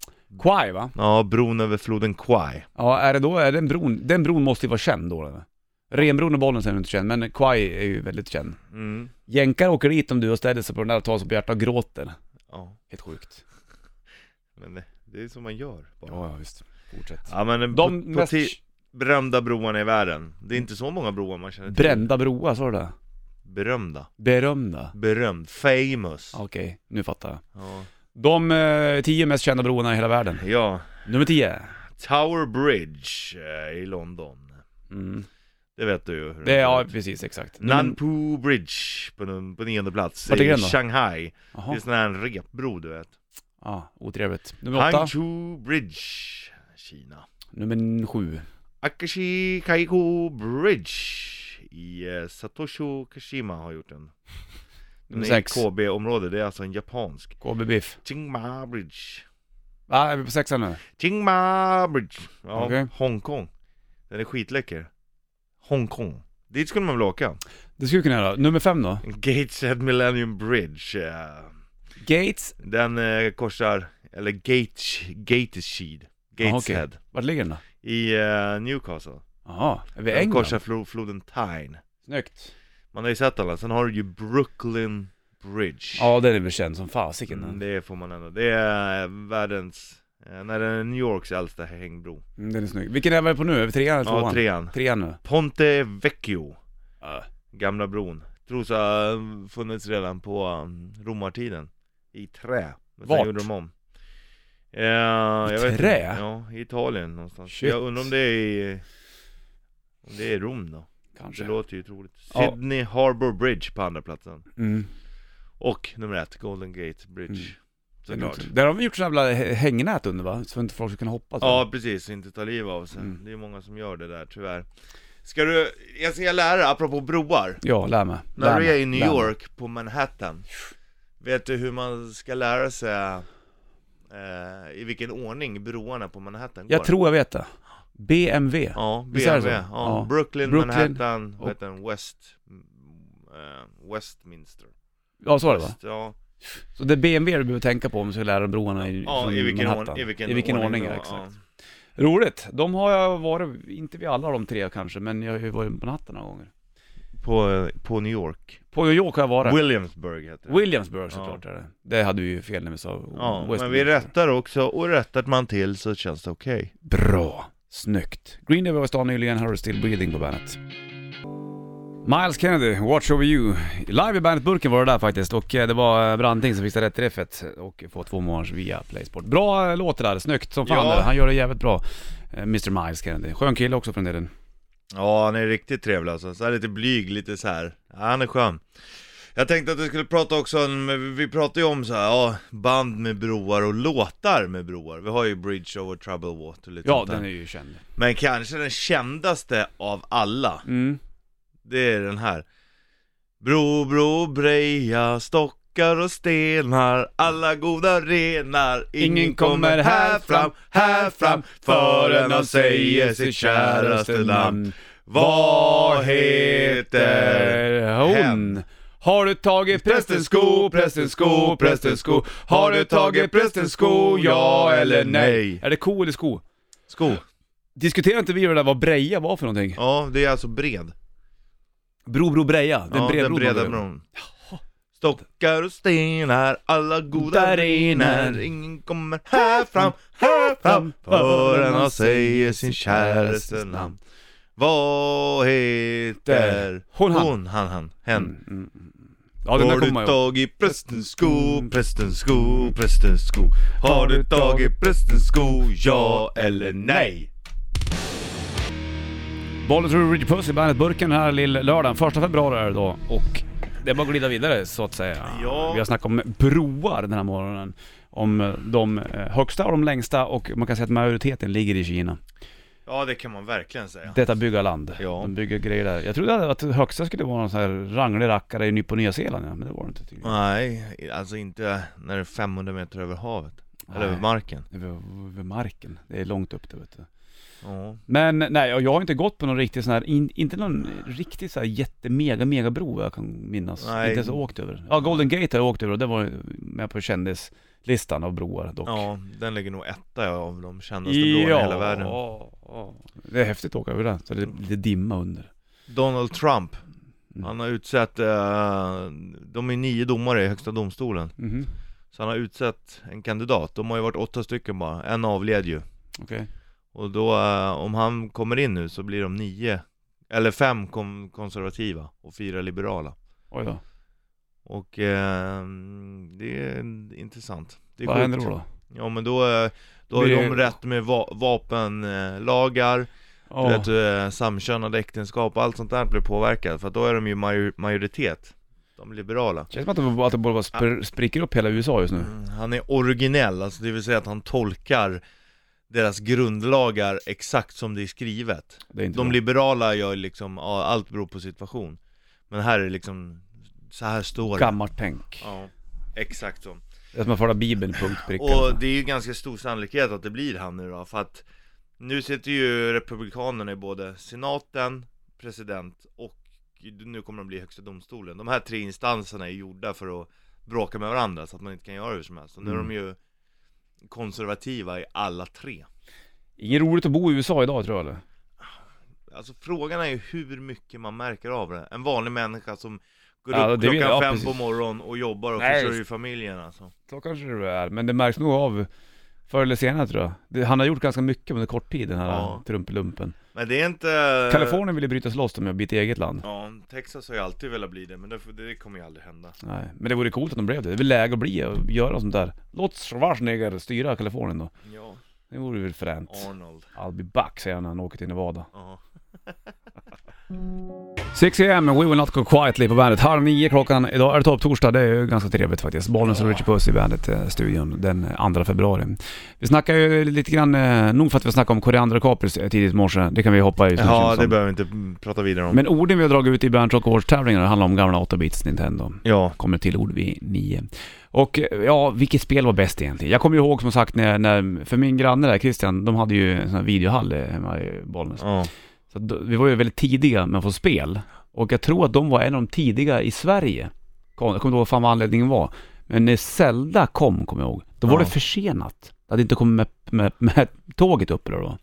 Speaker 2: Kwai va?
Speaker 3: ja, bron över floden Kwai.
Speaker 2: Ja, är det då, är den bron, den bron måste ju vara känd då eller? Renbron och bollen är ju inte känd, men Kwai är ju väldigt känd.
Speaker 3: Mm.
Speaker 2: Jänkar åker dit om du och ställer sig på den där och tar sig på hjärtat och gråter.
Speaker 3: Ja,
Speaker 2: Helt sjukt.
Speaker 3: men det, det är så man gör. Bara.
Speaker 2: Ja, ja visst. Fortsätt.
Speaker 3: Ja men
Speaker 2: De
Speaker 3: på,
Speaker 2: mest
Speaker 3: på ti- berömda broarna i världen. Det är inte så många broar man känner till.
Speaker 2: brända broar, sa du det?
Speaker 3: Berömda.
Speaker 2: Berömda.
Speaker 3: Berömd. Famous.
Speaker 2: Ja, Okej, nu fattar jag.
Speaker 3: Ja.
Speaker 2: De eh, tio mest kända broarna i hela världen.
Speaker 3: ja.
Speaker 2: Nummer tio.
Speaker 3: Tower Bridge eh, i London.
Speaker 2: Mm.
Speaker 3: Det vet du ju. hur
Speaker 2: Det är,
Speaker 3: ser
Speaker 2: ja,
Speaker 3: ut.
Speaker 2: precis, exakt. Nummer-
Speaker 3: Nanpu Bridge på, den- på nionde plats
Speaker 2: Vart ligger
Speaker 3: i
Speaker 2: den då?
Speaker 3: Shanghai. Det
Speaker 2: Jaha.
Speaker 3: är sån här repbro du vet.
Speaker 2: Ja, otrevligt. Nummer åtta.
Speaker 3: Hangzhou Bridge, Kina.
Speaker 2: Nummer sju.
Speaker 3: Akashi Kaiko Bridge i eh, Satoshu Kashima har gjort den. Den
Speaker 2: Nummer
Speaker 3: är i
Speaker 2: sex.
Speaker 3: KB-område, det är alltså en japansk.
Speaker 2: KB Biff.
Speaker 3: Qingma Bridge.
Speaker 2: Va, är vi på sexan nu?
Speaker 3: Qingma Bridge. Ja,
Speaker 2: Okej.
Speaker 3: Hongkong. Den är skitläcker. Hongkong. Dit skulle man väl åka?
Speaker 2: Det skulle vi kunna göra. Nummer fem då?
Speaker 3: Gateshead Millennium Bridge. eh,
Speaker 2: Gates.
Speaker 3: Den eh, korsar, eller Gate, Gateshead.
Speaker 2: okej.
Speaker 3: Gateshead.
Speaker 2: Vart ligger den då?
Speaker 3: I eh, Newcastle.
Speaker 2: Jaha, är vi i
Speaker 3: Den
Speaker 2: England?
Speaker 3: korsar flo- floden Tyne.
Speaker 2: Snyggt.
Speaker 3: Man har ju sett alla. Sen har du ju Brooklyn Bridge.
Speaker 2: Ja, den är väl känd som fasiken.
Speaker 3: Mm,
Speaker 2: Mm,
Speaker 3: det får man ändå. Det är världens, eh, när det är New Yorks äldsta hängbro.
Speaker 2: Mm, den är snygg. Vilken är vi på nu? Är vi trean eller tvåan?
Speaker 3: Ja, trean.
Speaker 2: Trean nu.
Speaker 3: Ponte Vecchio,
Speaker 2: Ja.
Speaker 3: gamla bron. Tros ha funnits redan på um, romartiden. I trä. Men
Speaker 2: Vart?
Speaker 3: Sen gjorde de om. Eh, jag vet inte.
Speaker 2: trä?
Speaker 3: Ja, i Italien någonstans.
Speaker 2: Shit.
Speaker 3: Jag undrar om det är i, om det är i Rom då. Det
Speaker 2: Kanske.
Speaker 3: låter ju troligt.
Speaker 2: Ja.
Speaker 3: Sydney Harbour Bridge på andra platsen.
Speaker 2: Mm.
Speaker 3: Och nummer ett, Golden Gate Bridge.
Speaker 2: Mm.
Speaker 3: Såklart.
Speaker 2: Där har de gjort sådana jävla hä- hängnät under va? Så inte folk ska kunna hoppa. så.
Speaker 3: Ja precis, inte ta liv av sig.
Speaker 2: Mm.
Speaker 3: Det är många som gör det där tyvärr. Ska du, jag ska lära dig, apropå broar.
Speaker 2: Ja, lär mig.
Speaker 3: När
Speaker 2: Lär
Speaker 3: du
Speaker 2: mig.
Speaker 3: är i New
Speaker 2: Lär mig.
Speaker 3: York på Manhattan, vet du hur man ska lära sig eh, i vilken ordning broarna på Manhattan går?
Speaker 2: Jag tror jag vet det. BMW.
Speaker 3: Ja,
Speaker 2: Visst är det
Speaker 3: BMW, ja,
Speaker 2: så? Ja.
Speaker 3: Brooklyn,
Speaker 2: Brooklyn
Speaker 3: Manhattan,
Speaker 2: och-
Speaker 3: vad heter den? West, eh, Westminster.
Speaker 2: Ja, så var det va?
Speaker 3: West, ja,
Speaker 2: Så det är BMW du behöver tänka på om du ska lära dig broarna i,
Speaker 3: ja
Speaker 2: från
Speaker 3: i, vilken
Speaker 2: Manhattan.
Speaker 3: ordning, i, vilken
Speaker 2: I vilken ordning,
Speaker 3: då,
Speaker 2: ja, exakt. Roligt. De har jag varit, inte vid alla de tre kanske, men jag har ju varit på natten några gånger.
Speaker 3: ja. På, eh, på New York.
Speaker 2: På New York har jag varit.
Speaker 3: Williamsburg heter det.
Speaker 2: Williamsburg såklart är det. Det hade vi ju fel när vi sa
Speaker 3: Ja,
Speaker 2: West
Speaker 3: men vi
Speaker 2: Minster.
Speaker 3: rättar också, och rättat man till så känns det okej.
Speaker 2: Bra. Snyggt. Green Day var i stan nyligen, här har du Still Breathing på bandet. Miles Kennedy, Watch Over You. Live i Bandet-burken var det där faktiskt och eh, det var eh, Branting som fixade rätt riffet och får två månaders via Playsport. Bra eh, låt det där, snyggt som fan
Speaker 3: Ja.
Speaker 2: det där. Han gör det jävligt bra. Eh, Mr Miles Kennedy. Skön kille också från den
Speaker 3: Ja, han är riktigt trevlig alltså. Så här lite blyg, lite så här. Ja, han är skön. Jag tänkte att vi skulle prata också om, vi pratar ju om så här, ja, band med broar och låtar med broar. Vi har ju Bridge Over Troubled Water lite
Speaker 2: Ja,
Speaker 3: sånt där.
Speaker 2: den är ju känd.
Speaker 3: Men kanske den kändaste av alla,
Speaker 2: Mm.
Speaker 3: det är den här. Bro, bro, breja, stockar och stenar, alla goda renar. Ingen kommer här fram, här fram, förrän han säger sitt käraste namn. Vad heter
Speaker 2: hon?
Speaker 3: hen?
Speaker 2: Har du tagit prästens sko, prästens sko, prästens sko? Har du tagit prästens sko, ja eller nej? Är det ko eller sko?
Speaker 3: sko?
Speaker 2: Diskuterar inte vi det där vad breja var för någonting?
Speaker 3: Ja, det är alltså bred.
Speaker 2: Bro, bro, breja. Den,
Speaker 3: ja,
Speaker 2: bred,
Speaker 3: den breda bron. Stockar och stenar, alla goda
Speaker 2: Där
Speaker 3: renar.
Speaker 2: inne.
Speaker 3: Ingen kommer här fram, här fram förrän han säger sin käraste namn. Vad heter
Speaker 2: Hon, han.
Speaker 3: hon han, Mm, han, hen?
Speaker 2: Ja, den där kommer
Speaker 3: Har du
Speaker 2: jag ihåg.
Speaker 3: tagit prästens sko, prästens sko, prästens sko? Mm. Har du tagit Mm. prästens sko, ja eller nej?
Speaker 2: Bollen tror Ridge Puss i bandet Burken här lill-lördagen. Första februari är det då och det är bara att glida vidare så att säga.
Speaker 3: Ja.
Speaker 2: Vi har snackat om broar den här morgonen. Om eh, de eh, högsta och de längsta och man kan säga att majoriteten ligger i Kina.
Speaker 3: Ja, det kan man verkligen säga.
Speaker 2: Detta byggarland.
Speaker 3: Ja.
Speaker 2: De bygger grejer där. Jag trodde att det högsta skulle vara någon sån här ranglig rackare i Ny- på Nya Zeeland ja, men det var det inte tydligen.
Speaker 3: Nej, alltså inte när det är 500 meter över havet, eller
Speaker 2: Nej.
Speaker 3: över marken.
Speaker 2: Över, över marken. Det är långt upp där vet du.
Speaker 3: Ja.
Speaker 2: Men nej, och jag har inte gått på någon riktig sån här, in, inte någon riktig så här jätte mega mega bro jag kan minnas.
Speaker 3: Nej.
Speaker 2: Inte ens åkt över. Ja, Golden Gate har jag åkt över och det var ju med på kändislistan av broar dock.
Speaker 3: ja, den ligger nog etta av de kändaste broarna i hela världen.
Speaker 2: ja, ja. Det är häftigt att åka över den, så det är lite dimma under.
Speaker 3: Donald Trump,
Speaker 2: Mm.
Speaker 3: han har utsett, eh, de är nio domare i högsta domstolen,
Speaker 2: Mhm,
Speaker 3: så han har utsett en kandidat. De har ju varit åtta stycken bara, en avled ju.
Speaker 2: okej.
Speaker 3: Och då, eh, om han kommer in nu så blir de nio, eller fem kom- konservativa och fyra liberala.
Speaker 2: Oj då.
Speaker 3: Och eh, det är intressant. Det är
Speaker 2: Vad
Speaker 3: sjukt.
Speaker 2: händer då? då?
Speaker 3: Ja men då, eh, då har ju
Speaker 2: Blir-
Speaker 3: de rätt med va- vapenlagar,
Speaker 2: Ja.
Speaker 3: du vet, eh, samkönade äktenskap och allt sånt där blir påverkat för att då är de ju major- majoritet, de liberala.
Speaker 2: Känns som att det, att det bara spr- spricker upp hela USA just nu.
Speaker 3: Mm, Han är originell, alltså det vill säga att han tolkar deras grundlagar exakt som det är skrivet.
Speaker 2: Det är inte
Speaker 3: De
Speaker 2: bra.
Speaker 3: liberala gör liksom, ja, allt beror på situation. Men här är det liksom, så här står det.
Speaker 2: Gammalt tänk.
Speaker 3: Ja, exakt så.
Speaker 2: Det är som att föra bibeln punkt pricka.
Speaker 3: Och det är ju ganska stor sannolikhet att det blir han nu då, för att nu sitter ju republikanerna i både senaten, president och nu kommer de bli högsta domstolen. De här tre instanserna är gjorda för att bråka med varandra så att man inte kan göra hur som helst. Och nu är
Speaker 2: Mm.
Speaker 3: de ju konservativa i alla tre.
Speaker 2: Inget roligt att bo i USA idag tror jag eller?
Speaker 3: Alltså frågan är ju hur mycket man märker av det. En vanlig människa som Går
Speaker 2: Ja,
Speaker 3: upp
Speaker 2: det är ju-
Speaker 3: klockan
Speaker 2: ja,
Speaker 3: fem
Speaker 2: precis.
Speaker 3: på morgonen och jobbar och
Speaker 2: Nej.
Speaker 3: försörjer familjen alltså.
Speaker 2: Så kanske det är, men det märks nog av förr eller senare tror jag. Det, han har gjort ganska mycket under kort tid, den här
Speaker 3: Ja. Eh.
Speaker 2: trumpelumpen.
Speaker 3: Men det är inte...
Speaker 2: Kalifornien ville bryta sig loss, de blir ett eget land.
Speaker 3: Ja, Texas har ju alltid velat bli det, men det, det kommer ju aldrig hända.
Speaker 2: Nej, men det vore coolt att de blev det. Det är väl läge att bli och göra något sånt där. Låt Schwarzenegger styra Kalifornien då.
Speaker 3: Ja.
Speaker 2: Det vore väl fränt.
Speaker 3: Arnold.
Speaker 2: I'll be back säger han när han åker till Nevada.
Speaker 3: Ja.
Speaker 2: 6 am, We Will Not Go Quietly på bandet. Halv nio klockan. Idag är det topptorsdag, det är ju ganska trevligt faktiskt. Bollnäs och Richie Puss i bandet-studion den 2 februari. Vi snackar ju lite grann, eh, nog för att vi snackade om koriander och kapris eh, tidigt i morse, det kan vi hoppa i. så känns
Speaker 3: Ja,
Speaker 2: som.
Speaker 3: det behöver vi inte prata vidare om.
Speaker 2: Men orden vi har dragit ut i Band Rock Awards-tävlingarna handlar om gamla 8-bits Nintendo.
Speaker 3: Ja.
Speaker 2: kommer till ord vid nio. Och eh, ja, vilket spel var bäst egentligen? Jag kommer ju ihåg som sagt när, när för min granne där, Christian, de hade ju en sån här videohall eh, hemma i Bollnäs.
Speaker 3: ja.
Speaker 2: Så att då, vi var ju väldigt tidiga med att få spel. Och jag tror att de var en av de tidiga i Sverige. Kom, jag kommer inte ihåg fan vad anledningen var. Men när Zelda kom, kommer jag ihåg, då var
Speaker 3: Ja.
Speaker 2: det försenat. Det hade inte kommit med, med, med tåget upp eller då.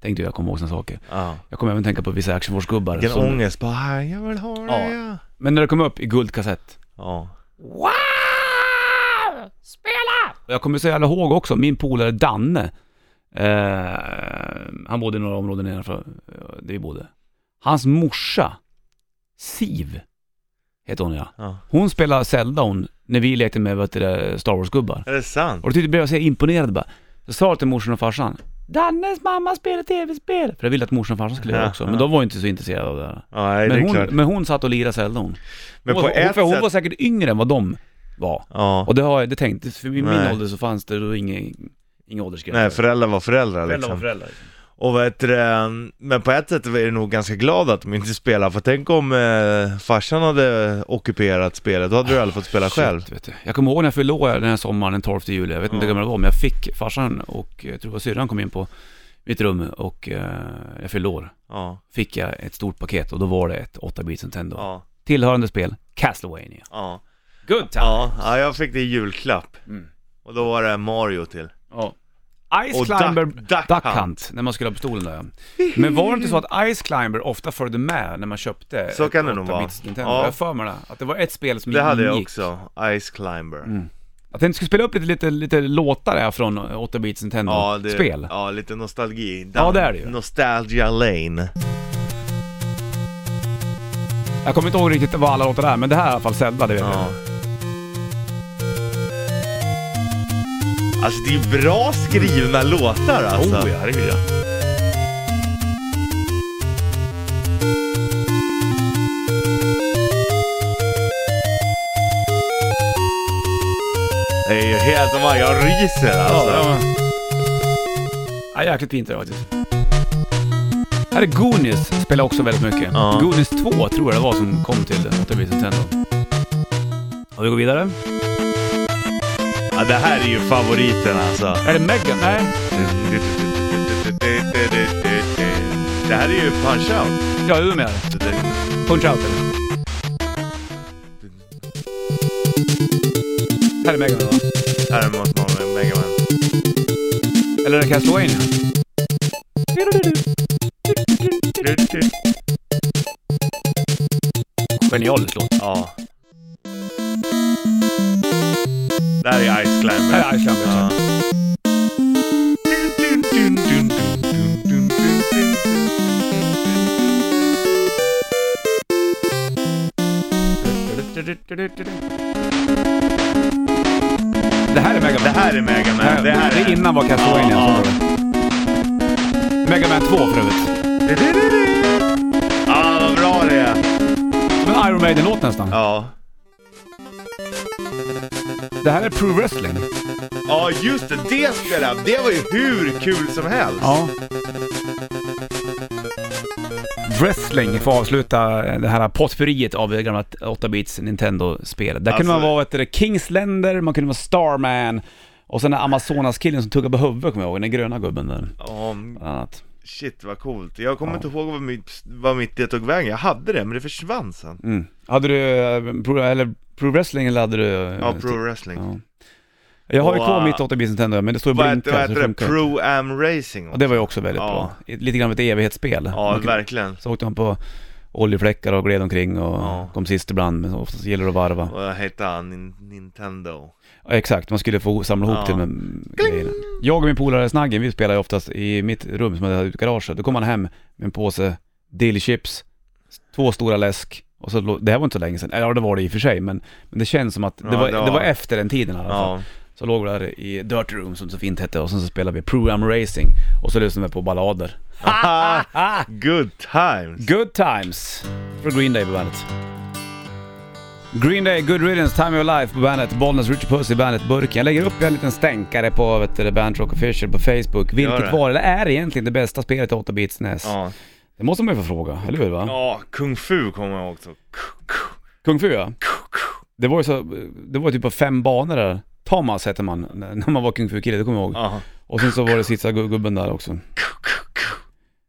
Speaker 2: Tänkte jag, jag kommer ihåg sådana saker.
Speaker 3: ja.
Speaker 2: Jag kommer även tänka på vissa actionforce-gubbar.
Speaker 3: Vilken
Speaker 2: som-
Speaker 3: ångest. Bara, "Här, jag vill ha
Speaker 2: Ja.
Speaker 3: det. Ja.
Speaker 2: Men när det kom upp i guldkassett,
Speaker 3: ja.
Speaker 2: Wow! Spela! Jag kommer så jävla ihåg också, min polare Danne. Eh, han bodde i några områden nedanför eh, där vi bodde. Hans morsa, Siv, heter hon ja.
Speaker 3: ja.
Speaker 2: Hon spelade Zelda hon, när vi lekte med vet du, det, Star Wars-gubbar.
Speaker 3: Är det sant?
Speaker 2: Och då tyckte blev jag så imponerad bara. Så sa jag till morsan och farsan, Dannes mamma spelar tv-spel. För jag ville att morsan och farsan skulle göra det också, men de var ju inte så intresserade av det här.
Speaker 3: Ja, nej, det
Speaker 2: Men
Speaker 3: är
Speaker 2: hon,
Speaker 3: klart.
Speaker 2: men hon satt och lirade Zelda hon.
Speaker 3: Men
Speaker 2: hon,
Speaker 3: på
Speaker 2: hon,
Speaker 3: ett
Speaker 2: för hon
Speaker 3: sätt...
Speaker 2: var säkert yngre än vad de var.
Speaker 3: Ja.
Speaker 2: Och det har jag det tänkt, för i min
Speaker 3: Nej.
Speaker 2: ålder så fanns det då ingen, ingen åldersgräns.
Speaker 3: Nej, föräldrar var föräldrar
Speaker 2: Föräldrar var
Speaker 3: liksom.
Speaker 2: föräldrar.
Speaker 3: Och vad heter det, mm, men på ett sätt är det nog ganska glad att de inte spelar, för tänk om eh, farsan hade ockuperat spelet, då hade du aldrig fått spela själv.
Speaker 2: Shit, vet du. Jag kommer ihåg när jag fyllde år den här sommaren, den 12 juli, jag vet inte hur
Speaker 3: Ja.
Speaker 2: gammal jag var, men jag fick farsan och eh, jag tror det var syrran kom in på mitt rum och eh, jag fyllde år.
Speaker 3: Ja,
Speaker 2: Fick jag ett stort paket och då var det ett 8-bits Nintendo.
Speaker 3: ja,
Speaker 2: Tillhörande spel, Castlevania.
Speaker 3: ja.
Speaker 2: Good time!
Speaker 3: Ja, ja jag fick det i julklapp.
Speaker 2: Mm.
Speaker 3: Och då var det Mario till.
Speaker 2: Ja. Ice
Speaker 3: Och
Speaker 2: Climber
Speaker 3: Duck- Duck Hunt.
Speaker 2: När man skulle ha pistolen där ja. Men var det inte så att Ice Climber ofta följde med när man köpte
Speaker 3: Så
Speaker 2: ett
Speaker 3: kan det nog vara.
Speaker 2: 8-bits Nintendo?
Speaker 3: Ja.
Speaker 2: Jag har för mig det. Att det var ett spel som
Speaker 3: Det hade jag
Speaker 2: ingick.
Speaker 3: också, Ice Climber.
Speaker 2: Mm. Jag tänkte skulle spela upp lite, lite, lite låtar här från 8-bits
Speaker 3: Ja, det,
Speaker 2: Nintendo-spel.
Speaker 3: ja, lite nostalgi.
Speaker 2: Ja, det är det ju.
Speaker 3: Nostalgia Lane.
Speaker 2: Jag kommer inte ihåg riktigt vad alla låtar är, men det här är i alla fall Zelda, det vet
Speaker 3: Ja. Alltså det är ju bra skrivna låtar
Speaker 2: jag.
Speaker 3: alltså.
Speaker 2: Mm. Oh ja, herregud ja.
Speaker 3: Det är ju helt, jag ryser alltså.
Speaker 2: ja. ja jäkligt fint det var faktiskt. Här är Goonies, spelar också väldigt mycket.
Speaker 3: Ja.
Speaker 2: Goonies 2 tror jag det var som kom till 8-bits Nintendo. Och vi går vidare.
Speaker 3: Ja, det här är ju favoriten alltså.
Speaker 2: Är det Megan? Nej.
Speaker 3: Det här är ju punch out.
Speaker 2: Ja, Umeå är det. Punch out eller? Här är Megan va?
Speaker 3: Här måste man med Mega Man.
Speaker 2: Eller är det Castlevania? Genialisk låt.
Speaker 3: Ja. Det här är Ice Climber.
Speaker 2: Här är Ice Climber,
Speaker 3: Ja.
Speaker 2: Det här är Megan
Speaker 3: Det
Speaker 2: Man.
Speaker 3: här är Mega Man.
Speaker 2: Det,
Speaker 3: Det här är...
Speaker 2: innan var Castlevania
Speaker 3: Ja,
Speaker 2: som
Speaker 3: ja.
Speaker 2: var det. Mega Man 2 för övrigt.
Speaker 3: Ja, vad bra det är.
Speaker 2: Som en Iron Maiden-låt nästan.
Speaker 3: Ja.
Speaker 2: Det här är Pro Wrestling.
Speaker 3: Ja, just det. Det spelet. Det var ju hur kul som helst.
Speaker 2: Ja. Wrestling får avsluta det här potpurriet av det gamla 8-bits Nintendo-spel. Där kunde man
Speaker 3: Alltså-
Speaker 2: vara vet du, Kingsländer, man kunde vara Starman och sen den här Amazonas-killen som tuggade på huvudet kommer jag ihåg, den gröna gubben där.
Speaker 3: Ja,
Speaker 2: Bland annat.
Speaker 3: shit vad coolt. Jag kommer inte ihåg vad mitt, vad mitt det tog vägen. Jag hade det, men det försvann sen.
Speaker 2: Mm. Hade du eh, pro, eller, pro Wrestling eller hade du...
Speaker 3: Ja, Pro Wrestling.
Speaker 2: Ja. Jag har ju
Speaker 3: Och,
Speaker 2: kvar
Speaker 3: eh,
Speaker 2: mitt 8-bits Nintendo men det står och
Speaker 3: Vad
Speaker 2: blinkar
Speaker 3: heter, vad
Speaker 2: så
Speaker 3: heter
Speaker 2: det
Speaker 3: det?
Speaker 2: funkar.
Speaker 3: Pro Am Racing?
Speaker 2: Och det var ju också väldigt
Speaker 3: Ja.
Speaker 2: bra. Lite grann av ett evighetsspel.
Speaker 3: Ja,
Speaker 2: Man kunde-
Speaker 3: verkligen.
Speaker 2: Så åkte man på oljefläckar och gled omkring och
Speaker 3: Ja.
Speaker 2: kom sist ibland men oftast gäller det att varva.
Speaker 3: Vad hette han? Nin- Nintendo.
Speaker 2: Ja, Exakt, man skulle få samla ihop
Speaker 3: Ja.
Speaker 2: det med grejerna. Jag och min polare Snaggen, vi spelade ju oftast i mitt rum som jag hade ute i garaget. Då kom han hem med en påse dillchips, två stora läsk och så, lå- det här var inte så länge sedan, eller ja, det var det i och för sig men, men det känns som att det,
Speaker 3: Ja,
Speaker 2: var,
Speaker 3: det var-
Speaker 2: det var efter den tiden i alla fall.
Speaker 3: Ja.
Speaker 2: Så låg vi där i Dirt Room som det så fint hette och sen så spelade vi Program Racing och så lyssnade vi på ballader.
Speaker 3: Haha, Good times.
Speaker 2: Alltså. Good Times för Green Day på bandet. Green Day, Good Riddance, Time of Your Life på bandet, Bollnäs, Richard Puss i bandet, Burken. Jag lägger upp en liten stänkare på vet du, Band Rock Official på Facebook. Vilket
Speaker 3: det.
Speaker 2: var eller är egentligen det bästa spelet i 8 bits NES?
Speaker 3: Ja.
Speaker 2: E Det måste man ju få fråga, eller hur va?
Speaker 3: ja, Kung Fu kommer jag också.
Speaker 2: Kung Fu ja. Det var ju så, det var ju typ på fem banor där. Thomas hette man när man var Kung Fu-kille, det kommer jag ihåg.
Speaker 3: Ja.
Speaker 2: Och sen så var det sista gu- gubben där också.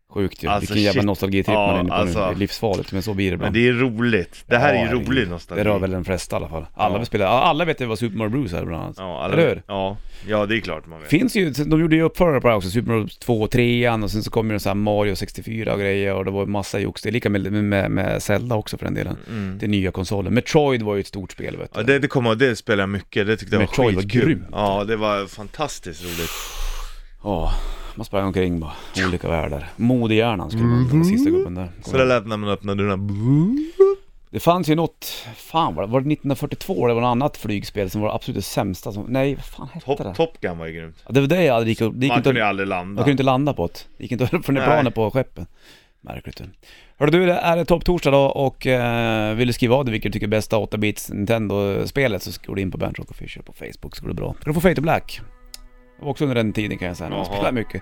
Speaker 2: Sjukt ju.
Speaker 3: Alltså,
Speaker 2: Vilken jävla
Speaker 3: shit.
Speaker 2: nostalgitripp
Speaker 3: Ja,
Speaker 2: man är inne på
Speaker 3: alltså.
Speaker 2: nu. Det är livsfarligt, men så blir det ibland.
Speaker 3: Men det är roligt. Det här
Speaker 2: Ja,
Speaker 3: är ju
Speaker 2: herregud.
Speaker 3: rolig
Speaker 2: Det
Speaker 3: nostalgi.
Speaker 2: rör väl de flesta i alla fall. Alla,
Speaker 3: Ja.
Speaker 2: vill spela, alla vet ju vad Super Mario Bros är bland annat.
Speaker 3: Ja, alla...
Speaker 2: Eller hur?
Speaker 3: Ja. ja, det är klart man vet.
Speaker 2: Finns ju, de gjorde ju uppförare på det här också, Super Mario Bros 2 och 3 och sen så kom ju de så här Mario 64 och grejer och det var ju massa jox. Det är lika med, med, med Zelda också för den delen. Det är nya konsolen. Metroid var ju ett stort spel vet du.
Speaker 3: Mm. Ja, det, det kommer det spelade jag mycket, det tyckte jag var
Speaker 2: Metroid var
Speaker 3: skitkul.
Speaker 2: grymt.
Speaker 3: Ja, det var fantastiskt roligt.
Speaker 2: Ja, man sprang omkring bara, olika världar. Modehjärnan skulle man den sista gubben där.
Speaker 3: Så det lät när man öppnade dörrarna.
Speaker 2: Det fanns ju något, fan var det, var det 1942 eller var det något annat flygspel som var det absolut det sämsta som, nej vad fan hette det?
Speaker 3: Top, Top Gun var ju grymt.
Speaker 2: Ja, Det var det jag aldrig gick upp, det gick
Speaker 3: Man
Speaker 2: inte
Speaker 3: kunde ju aldrig landa.
Speaker 2: Man kunde inte landa på det. Det gick inte upp från det
Speaker 3: Nej.
Speaker 2: planet på skeppen. Märkligt. du. Hörru du, det är det topptorsdag då och eh, vill du skriva av dig vilket du tycker är bästa 8-bits Nintendo-spelet så går du in på Bernt Rock Official på Facebook så går det bra. Ska du få Fate to Black. Det var också under den tiden kan jag säga, när man
Speaker 3: Jaha.
Speaker 2: spelade mycket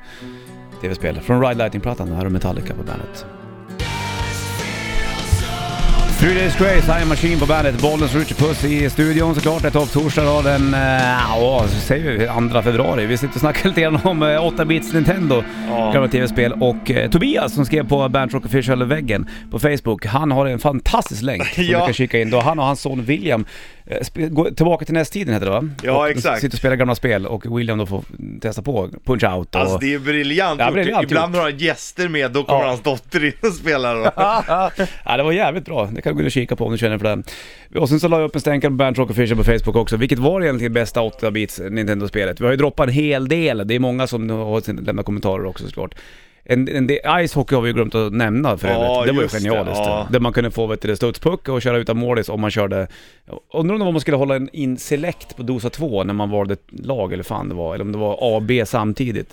Speaker 2: tv-spel. Från Ride Lighting-plattan, här har du Metallica på bandet. Three Days Grace, Iron Machine på bandet, Bollens Richard Puss i studion såklart. Det är topptorsdag då den, eh, ja, så säger vi, 2 februari. Vi sitter och snackar lite grann om eh, 8-bits Nintendo,
Speaker 3: Ja.
Speaker 2: gamla tv-spel. Och eh, Tobias som skrev på Bernt Rock Official-väggen på Facebook, han har en fantastisk länk som
Speaker 3: Ja.
Speaker 2: du kan kika in. Då han och hans son William eh, sp- går tillbaka till nästtiden heter det va?
Speaker 3: Ja,
Speaker 2: och de
Speaker 3: exakt.
Speaker 2: Sitter och spelar gamla spel och William då får testa på Punch-Out och...
Speaker 3: Alltså det är briljant,
Speaker 2: Ja,
Speaker 3: gjort.
Speaker 2: briljant
Speaker 3: Ibland
Speaker 2: gjort.
Speaker 3: har han gäster med, då kommer
Speaker 2: Ja.
Speaker 3: hans dotter in och spelar. då.
Speaker 2: ja, det var jävligt bra. Det kan du gå in och kika på om du känner för det. Och sen så la jag upp en stänkare på Bernt Rock Official på Facebook också. Vilket var egentligen bästa 8-bits Nintendo-spelet? Vi har ju droppat en hel del. Det är många som har lämnat kommentarer också såklart. En, en, del- ice hockey har vi ju glömt att nämna för
Speaker 3: Ja,
Speaker 2: övrigt. det var ju
Speaker 3: just det,
Speaker 2: genialiskt.
Speaker 3: ja.
Speaker 2: Där man kunde få vet du, studspuck och köra utan målis om man körde... Jag Undrar om man skulle hålla en in select på dosa 2 när man valde ett lag eller fan det var. Eller om det var A och B samtidigt.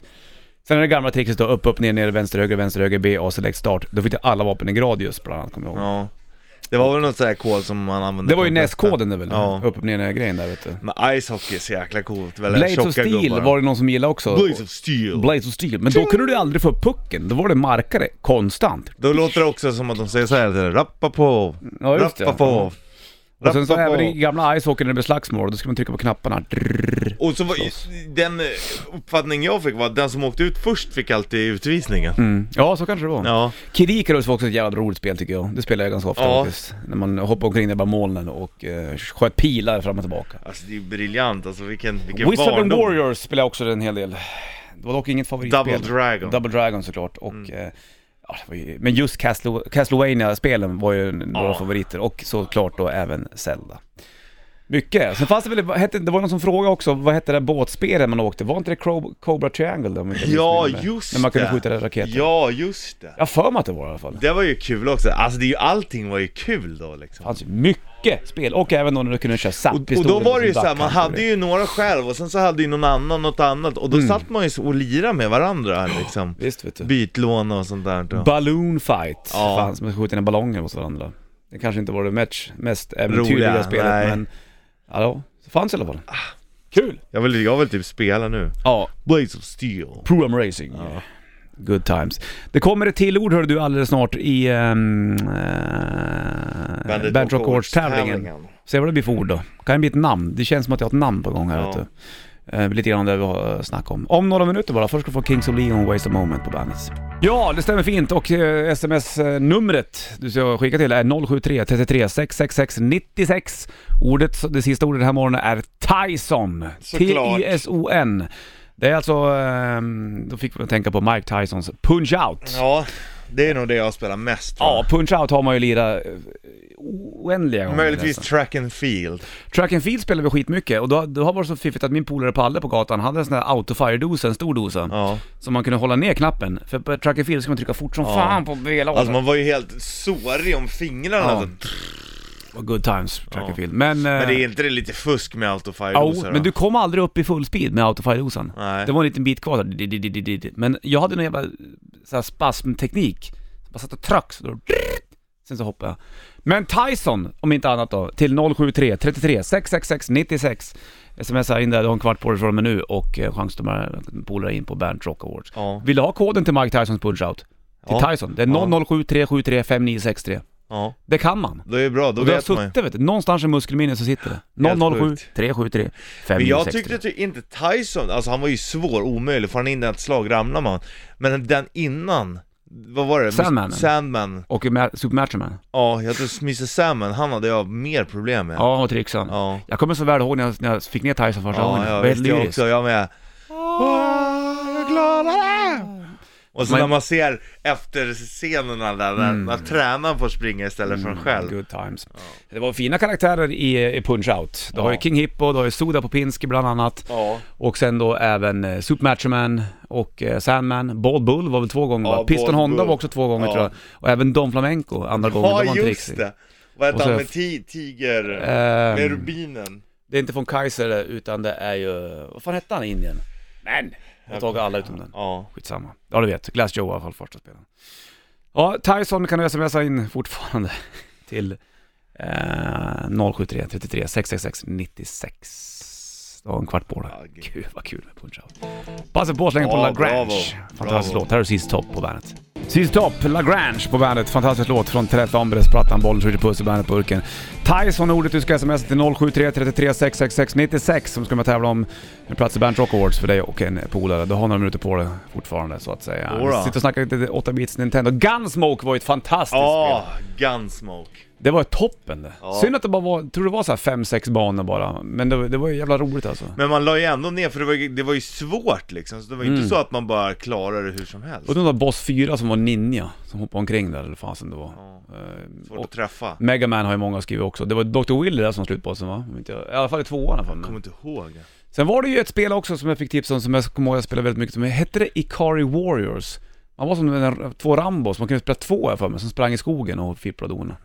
Speaker 2: Sen är det gamla tricket då, upp, upp, ner, ner, vänster, höger, vänster, höger, B, A, select, start. Då fick du alla vapen i gradius bland annat, kommer jag ihåg.
Speaker 3: Ja. Det var väl något sånt här kod som man använde
Speaker 2: Det var ju
Speaker 3: på de flesta.
Speaker 2: NES-koden det väl?
Speaker 3: Ja.
Speaker 2: Upp, upp, ner, ner, grejen där vet du.
Speaker 3: Men Ice Hockey är så jäkla coolt. Väl,
Speaker 2: Blades
Speaker 3: tjocka
Speaker 2: of Steel
Speaker 3: gubbar.
Speaker 2: var det någon som gillade också.
Speaker 3: Blades of Steel.
Speaker 2: Blades of Steel. Men då kunde du aldrig få upp pucken, då var det markare konstant.
Speaker 3: Då låter det också som att de säger så här, så här, rappa på,
Speaker 2: Ja, just det.
Speaker 3: rappa på.
Speaker 2: Och sen så
Speaker 3: rappa
Speaker 2: även
Speaker 3: på."
Speaker 2: i gamla ishockeyn när det blev slagsmål, då skulle man trycka på knapparna. Drrrr.
Speaker 3: Och så var, den eh, uppfattning jag fick var att den som åkte ut först fick alltid utvisningen.
Speaker 2: Ja, så kanske det var.
Speaker 3: Ja.
Speaker 2: Kirikarus var också ett jävla roligt spel tycker jag. Det spelar jag ganska ofta
Speaker 3: Ja.
Speaker 2: faktiskt. När man hoppar omkring där bland molnen och eh, sköt pilar fram och tillbaka.
Speaker 3: Alltså det är ju briljant, alltså vilken, vilken
Speaker 2: Wizard and
Speaker 3: barndom.
Speaker 2: Warriors spelade jag också en hel del. Det var dock inget favoritspel.
Speaker 3: Double Dragon. Mm.
Speaker 2: Double Dragon såklart och... Eh, ja, det var ju, men just Castle, Castlevania-spelen var ju några
Speaker 3: Ja.
Speaker 2: favoriter och såklart då även Zelda. Mycket. Sen fanns det väl, vad hette, det var någon som frågade också, vad hette det där båtspelet man åkte? Var inte det Cro- Cobra Triangle då? om inte jag
Speaker 3: Ja,
Speaker 2: missminner mig?
Speaker 3: just det.
Speaker 2: När man kunde skjuta där raketer. Ja.
Speaker 3: Ja, just det.
Speaker 2: Jag har för mig att det var i alla fall. Det
Speaker 3: Det var ju kul också. Alltså det är ju, allting var ju kul då liksom.
Speaker 2: fanns ju Alltså, mycket spel och även då när du kunde köra
Speaker 3: Och,
Speaker 2: zapp-pistoler.
Speaker 3: och då var det ju
Speaker 2: som
Speaker 3: såhär, man
Speaker 2: backhands och
Speaker 3: hade
Speaker 2: grejer.
Speaker 3: ju några själv och sen så hade ju någon annan något annat och då
Speaker 2: Mm.
Speaker 3: satt man ju så och lirade med varandra liksom.
Speaker 2: Visst vet du.
Speaker 3: Bytlån och sånt där. då.
Speaker 2: Balloon fight
Speaker 3: Ja.
Speaker 2: fanns, man skjuter ner ballonger mot varandra. Det kanske inte var det match, mest äventyrliga
Speaker 3: Roliga,
Speaker 2: spelet
Speaker 3: nej.
Speaker 2: men... Ja, det fanns i alla fall. Kul!
Speaker 3: Jag vill, jag vill typ spela nu.
Speaker 2: Ah. Ja,
Speaker 3: Blades of Steel.
Speaker 2: Pro-Am Racing. Good times. Det kommer ett till ord hör du alldeles snart i ehm, eh, Bandit Rock Awards-tävlingen. Se vad det blir för ord då. Kan det bli ett namn? Det känns som att jag har ett namn på gång här
Speaker 3: Ja.
Speaker 2: vet du. Eh, lite grann det vi har snackat om. Om några minuter bara, först ska du få Kings of Leon Waste a Moment på bandet. Ja, det stämmer fint och eh, sms-numret du ska skicka till är 073 33 666 96. Ordet, det sista ordet den här morgonen är Tyson.
Speaker 3: Såklart.
Speaker 2: ehm, T-I-S-O-N. Det är alltså, eh, då fick man tänka på Mike Tysons Punch Out.
Speaker 3: Ja, Det är nog det jag spelar mest tror
Speaker 2: Ja,
Speaker 3: jag.
Speaker 2: punch-out har man ju lirat eh, oändliga gånger
Speaker 3: Möjligtvis
Speaker 2: nästan.
Speaker 3: track and field.
Speaker 2: Track and field spelar vi skitmycket och då, då har det varit så fiffigt att min polare Palle på gatan hade en sån där autofire-dosa, en stor dosa.
Speaker 3: Ja.
Speaker 2: Som man kunde hålla ner knappen. För på track and field ska man trycka fort som
Speaker 3: Ja.
Speaker 2: fan på hela
Speaker 3: Alltså man var ju helt sårig om fingrarna.
Speaker 2: Ja.
Speaker 3: Alltså.
Speaker 2: Och Good times, track
Speaker 3: Ja.
Speaker 2: and field. Men...
Speaker 3: Men det är inte det lite fusk med autofire
Speaker 2: Ja, men du kom aldrig upp i full speed med autofire-dosan.
Speaker 3: Nej.
Speaker 2: Det var en liten bit kvar där. Di- di- di- di- di- di. Men jag hade någon jävla så här spasmteknik. Jag bara satt och tryck, så då... Sen så hoppade jag. Men Tyson, om inte annat då, till 073 33 666 96. Smsa in där, du har en kvart på dig från och med nu och eh, chans att de här polare in på Bernt Rock Awards.
Speaker 3: Ja.
Speaker 2: Vill du ha koden till Mike Tysons punch-out? Till
Speaker 3: Ja.
Speaker 2: Tyson? Det är 0073735963.
Speaker 3: Ja.
Speaker 2: Det kan man.
Speaker 3: Då är det bra, då
Speaker 2: Och det har
Speaker 3: vet man ju.
Speaker 2: suttit vet du, någonstans i muskelminnet så sitter det.
Speaker 3: Helt
Speaker 2: 007
Speaker 3: sjukt.
Speaker 2: 373 563.
Speaker 3: Men jag tyckte ty inte Tyson, alltså han var ju svår, omöjlig, får han in ett slag ramlar man. Men den innan, vad var det?
Speaker 2: Sandmanen.
Speaker 3: Sandman.
Speaker 2: Och Ma- Super Macho Man.
Speaker 3: Ja, jag tror Mr Sandman, han hade jag mer problem med.
Speaker 2: Ja, och trixan.
Speaker 3: Ja.
Speaker 2: Jag kommer så väl ihåg när jag, när jag fick ner Tyson första gången.
Speaker 3: Ja,
Speaker 2: Det
Speaker 3: jag
Speaker 2: var helt
Speaker 3: visste jag
Speaker 2: lyriskt.
Speaker 3: också, jag med. Åh, jag klarar det! Och så
Speaker 2: Men-
Speaker 3: när man ser efter scenerna där, när,
Speaker 2: Mm.
Speaker 3: när tränaren får springa istället för en själv.
Speaker 2: Good times. Det var fina karaktärer i, i Punch-Out. Du har ju
Speaker 3: Ja.
Speaker 2: King Hippo, du har ju Soda Popinski bland annat.
Speaker 3: Ja.
Speaker 2: Och sen då även eh, Super Macho Man och eh, Sandman. Bald Bull var väl två gånger
Speaker 3: Ja,
Speaker 2: va? Piston
Speaker 3: Bald
Speaker 2: Honda
Speaker 3: Bull.
Speaker 2: var också två gånger
Speaker 3: Ja.
Speaker 2: tror jag. Och även Don Flamenco andra gången, det var
Speaker 3: Ja,
Speaker 2: en
Speaker 3: just
Speaker 2: trixig.
Speaker 3: det! Vad
Speaker 2: Och
Speaker 3: hette
Speaker 2: så-
Speaker 3: han med ti- tiger...
Speaker 2: Ehm.
Speaker 3: med rubinen?
Speaker 2: Det är inte från Kaiser det, utan det är ju, vad fan hette han i Indien? Men! Jag har tagit alla utom den.
Speaker 3: Ja.
Speaker 2: Skitsamma. Ja du vet, Glass Joe i alla fall första spelaren. Ja, Tyson kan du smsa in fortfarande till eh, 073 33 666 96. Du har en kvart på dig.
Speaker 3: Ja, gud.
Speaker 2: Gud vad kul med Punch-Out. Passa på att slänga på
Speaker 3: Ja,
Speaker 2: Lagrange.
Speaker 3: bravo.
Speaker 2: Fantastisk
Speaker 3: Bravo.
Speaker 2: låt. Här har du Sist Top på bandet. Sist Top, Lagrange på bandet. Fantastisk låt från Träff Ambres, Plattan, Bollen, Skjuter Puss i bandet-burken. Tyson är ordet du ska smsa till 073 33 666 96 som ska man tävla om en plats i Bandet Rock Awards för dig och en polare. Du har några minuter på dig fortfarande så att säga.
Speaker 3: Jodå.
Speaker 2: Vi sitter och snackar lite 8-bits Nintendo. Gunsmoke var ju ett fantastiskt
Speaker 3: Ja,
Speaker 2: spel.
Speaker 3: Gunsmoke.
Speaker 2: Det var toppen det.
Speaker 3: Ja.
Speaker 2: Synd att det bara var, tror det var så här 5-6 banor bara. Men det, det var ju jävla roligt alltså.
Speaker 3: Men man la ju ändå ner för det var ju, det var ju svårt liksom, så det var ju inte så att man bara klarade det hur som helst.
Speaker 2: Mm. Och den där Boss 4 som var ninja, som hoppade omkring där eller fasen det var. Eh,
Speaker 3: Svårt att träffa.
Speaker 2: Mega Man har ju många skrivit också. Det var Dr. Willy där som var slutbossen va? Om inte jag- I alla fall i tvåan i alla
Speaker 3: Jag
Speaker 2: fall.
Speaker 3: kommer inte ihåg.
Speaker 2: Sen var det ju ett spel också som jag fick tips om som jag kommer ihåg jag spelade väldigt mycket som Hette det Ikari Warriors? Man var som den där, två Rambos, man kunde spela två här för mig, som sprang i skogen och fipplade och donade.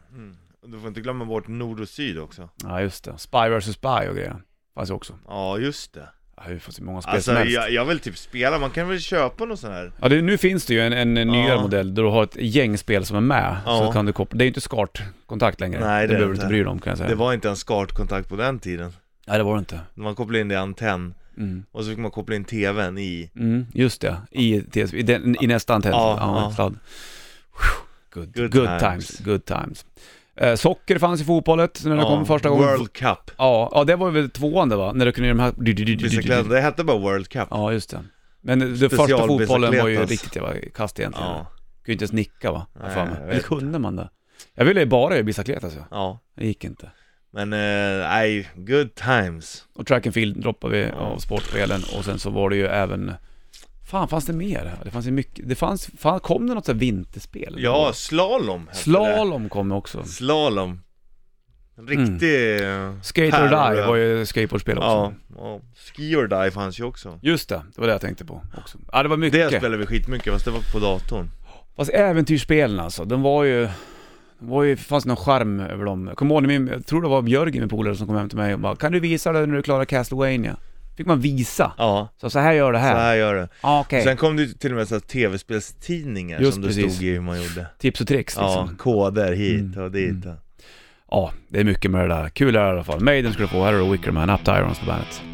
Speaker 3: Och Du får inte glömma bort nord och syd också.
Speaker 2: Ja just det, Spy vs Spy och grejer. Fanns ju också.
Speaker 3: Ja, just det.
Speaker 2: Ja, det fanns ju många spel
Speaker 3: Alltså
Speaker 2: som helst.
Speaker 3: jag, jag vill typ spela, man kan väl köpa någon sån här?
Speaker 2: Ja, det, nu finns det ju en, en nyare
Speaker 3: Ja.
Speaker 2: modell där du har ett gäng spel som är med.
Speaker 3: Ja.
Speaker 2: Så kan du koppla, det är ju inte SCART-kontakt längre.
Speaker 3: Nej, det är
Speaker 2: det behöver
Speaker 3: det
Speaker 2: du inte
Speaker 3: inte.
Speaker 2: bry dig om kan jag säga.
Speaker 3: Det var inte en SCART-kontakt på den tiden.
Speaker 2: Nej det var det inte.
Speaker 3: Man kopplade in det i antenn,
Speaker 2: Mm.
Speaker 3: och så fick man koppla in tvn i.
Speaker 2: Mm, just det, i, TS i, den, i nästa antenn.
Speaker 3: Ja,
Speaker 2: Ja,
Speaker 3: ja.
Speaker 2: sladd. Good, good,
Speaker 3: Good
Speaker 2: times.
Speaker 3: times.
Speaker 2: good times. Eh, socker fanns i fotbollet när det kom första gången.
Speaker 3: World Cup.
Speaker 2: Ja, ja, det var väl tvåan det va? När du kunde göra de
Speaker 3: Bicyklet,
Speaker 2: här...
Speaker 3: det hette bara World Cup.
Speaker 2: Ja, just det. Men den första
Speaker 3: Specialbicykletas.
Speaker 2: fotbollen var ju riktigt jävla kast egentligen.
Speaker 3: Ja.
Speaker 2: Kunde inte ens nicka va? Jag har för
Speaker 3: Nej,
Speaker 2: mig.
Speaker 3: jag
Speaker 2: Eller
Speaker 3: vet
Speaker 2: kunde man det? Jag ville ju bara göra bicykletas ja.
Speaker 3: ja.
Speaker 2: Det gick inte.
Speaker 3: Men eh, nej, good times.
Speaker 2: Och track and field droppade vi av sportspelen och sen så var det ju även... Fan, fanns det mer? Det fanns ju mycket... Det fanns... Fan, kom det något sånt här vinterspel?
Speaker 3: Ja, slalom hette
Speaker 2: Slalom kom också.
Speaker 3: det. Slalom. En
Speaker 2: Mm.
Speaker 3: riktig... eh,
Speaker 2: Skate or
Speaker 3: pärl.
Speaker 2: Die var ju skateboardspel också.
Speaker 3: Ja, ja. Ski or Die fanns ju också.
Speaker 2: Just det, det var det jag tänkte på också. Ja, det var
Speaker 3: Det
Speaker 2: mycket.
Speaker 3: spelade vi skitmycket, fast det var på datorn.
Speaker 2: Fast äventyrsspelen alltså, de var ju... Det var ju, fanns någon charm över dem. Jag Kommer ihåg när min, jag tror det var Jörgen, min polare, som kom hem till mig och bara Kan du visa det när du klarar Castlevania? Fick man visa.
Speaker 3: Ja,
Speaker 2: Så, så här gör det
Speaker 3: så
Speaker 2: här.
Speaker 3: här gör det.
Speaker 2: Ah, Okej.
Speaker 3: Sen kom det ju till och med så här tv-spelstidningar
Speaker 2: Just
Speaker 3: som det
Speaker 2: precis. Mm.
Speaker 3: stod i hur man gjorde.
Speaker 2: Tips och tricks
Speaker 3: Ja,
Speaker 2: liksom.
Speaker 3: koder hit och dit.
Speaker 2: Ja, det är mycket med det där. Kul är det i alla fall. Maiden skulle få, här är det Wickerman, Up to Irons på bandet.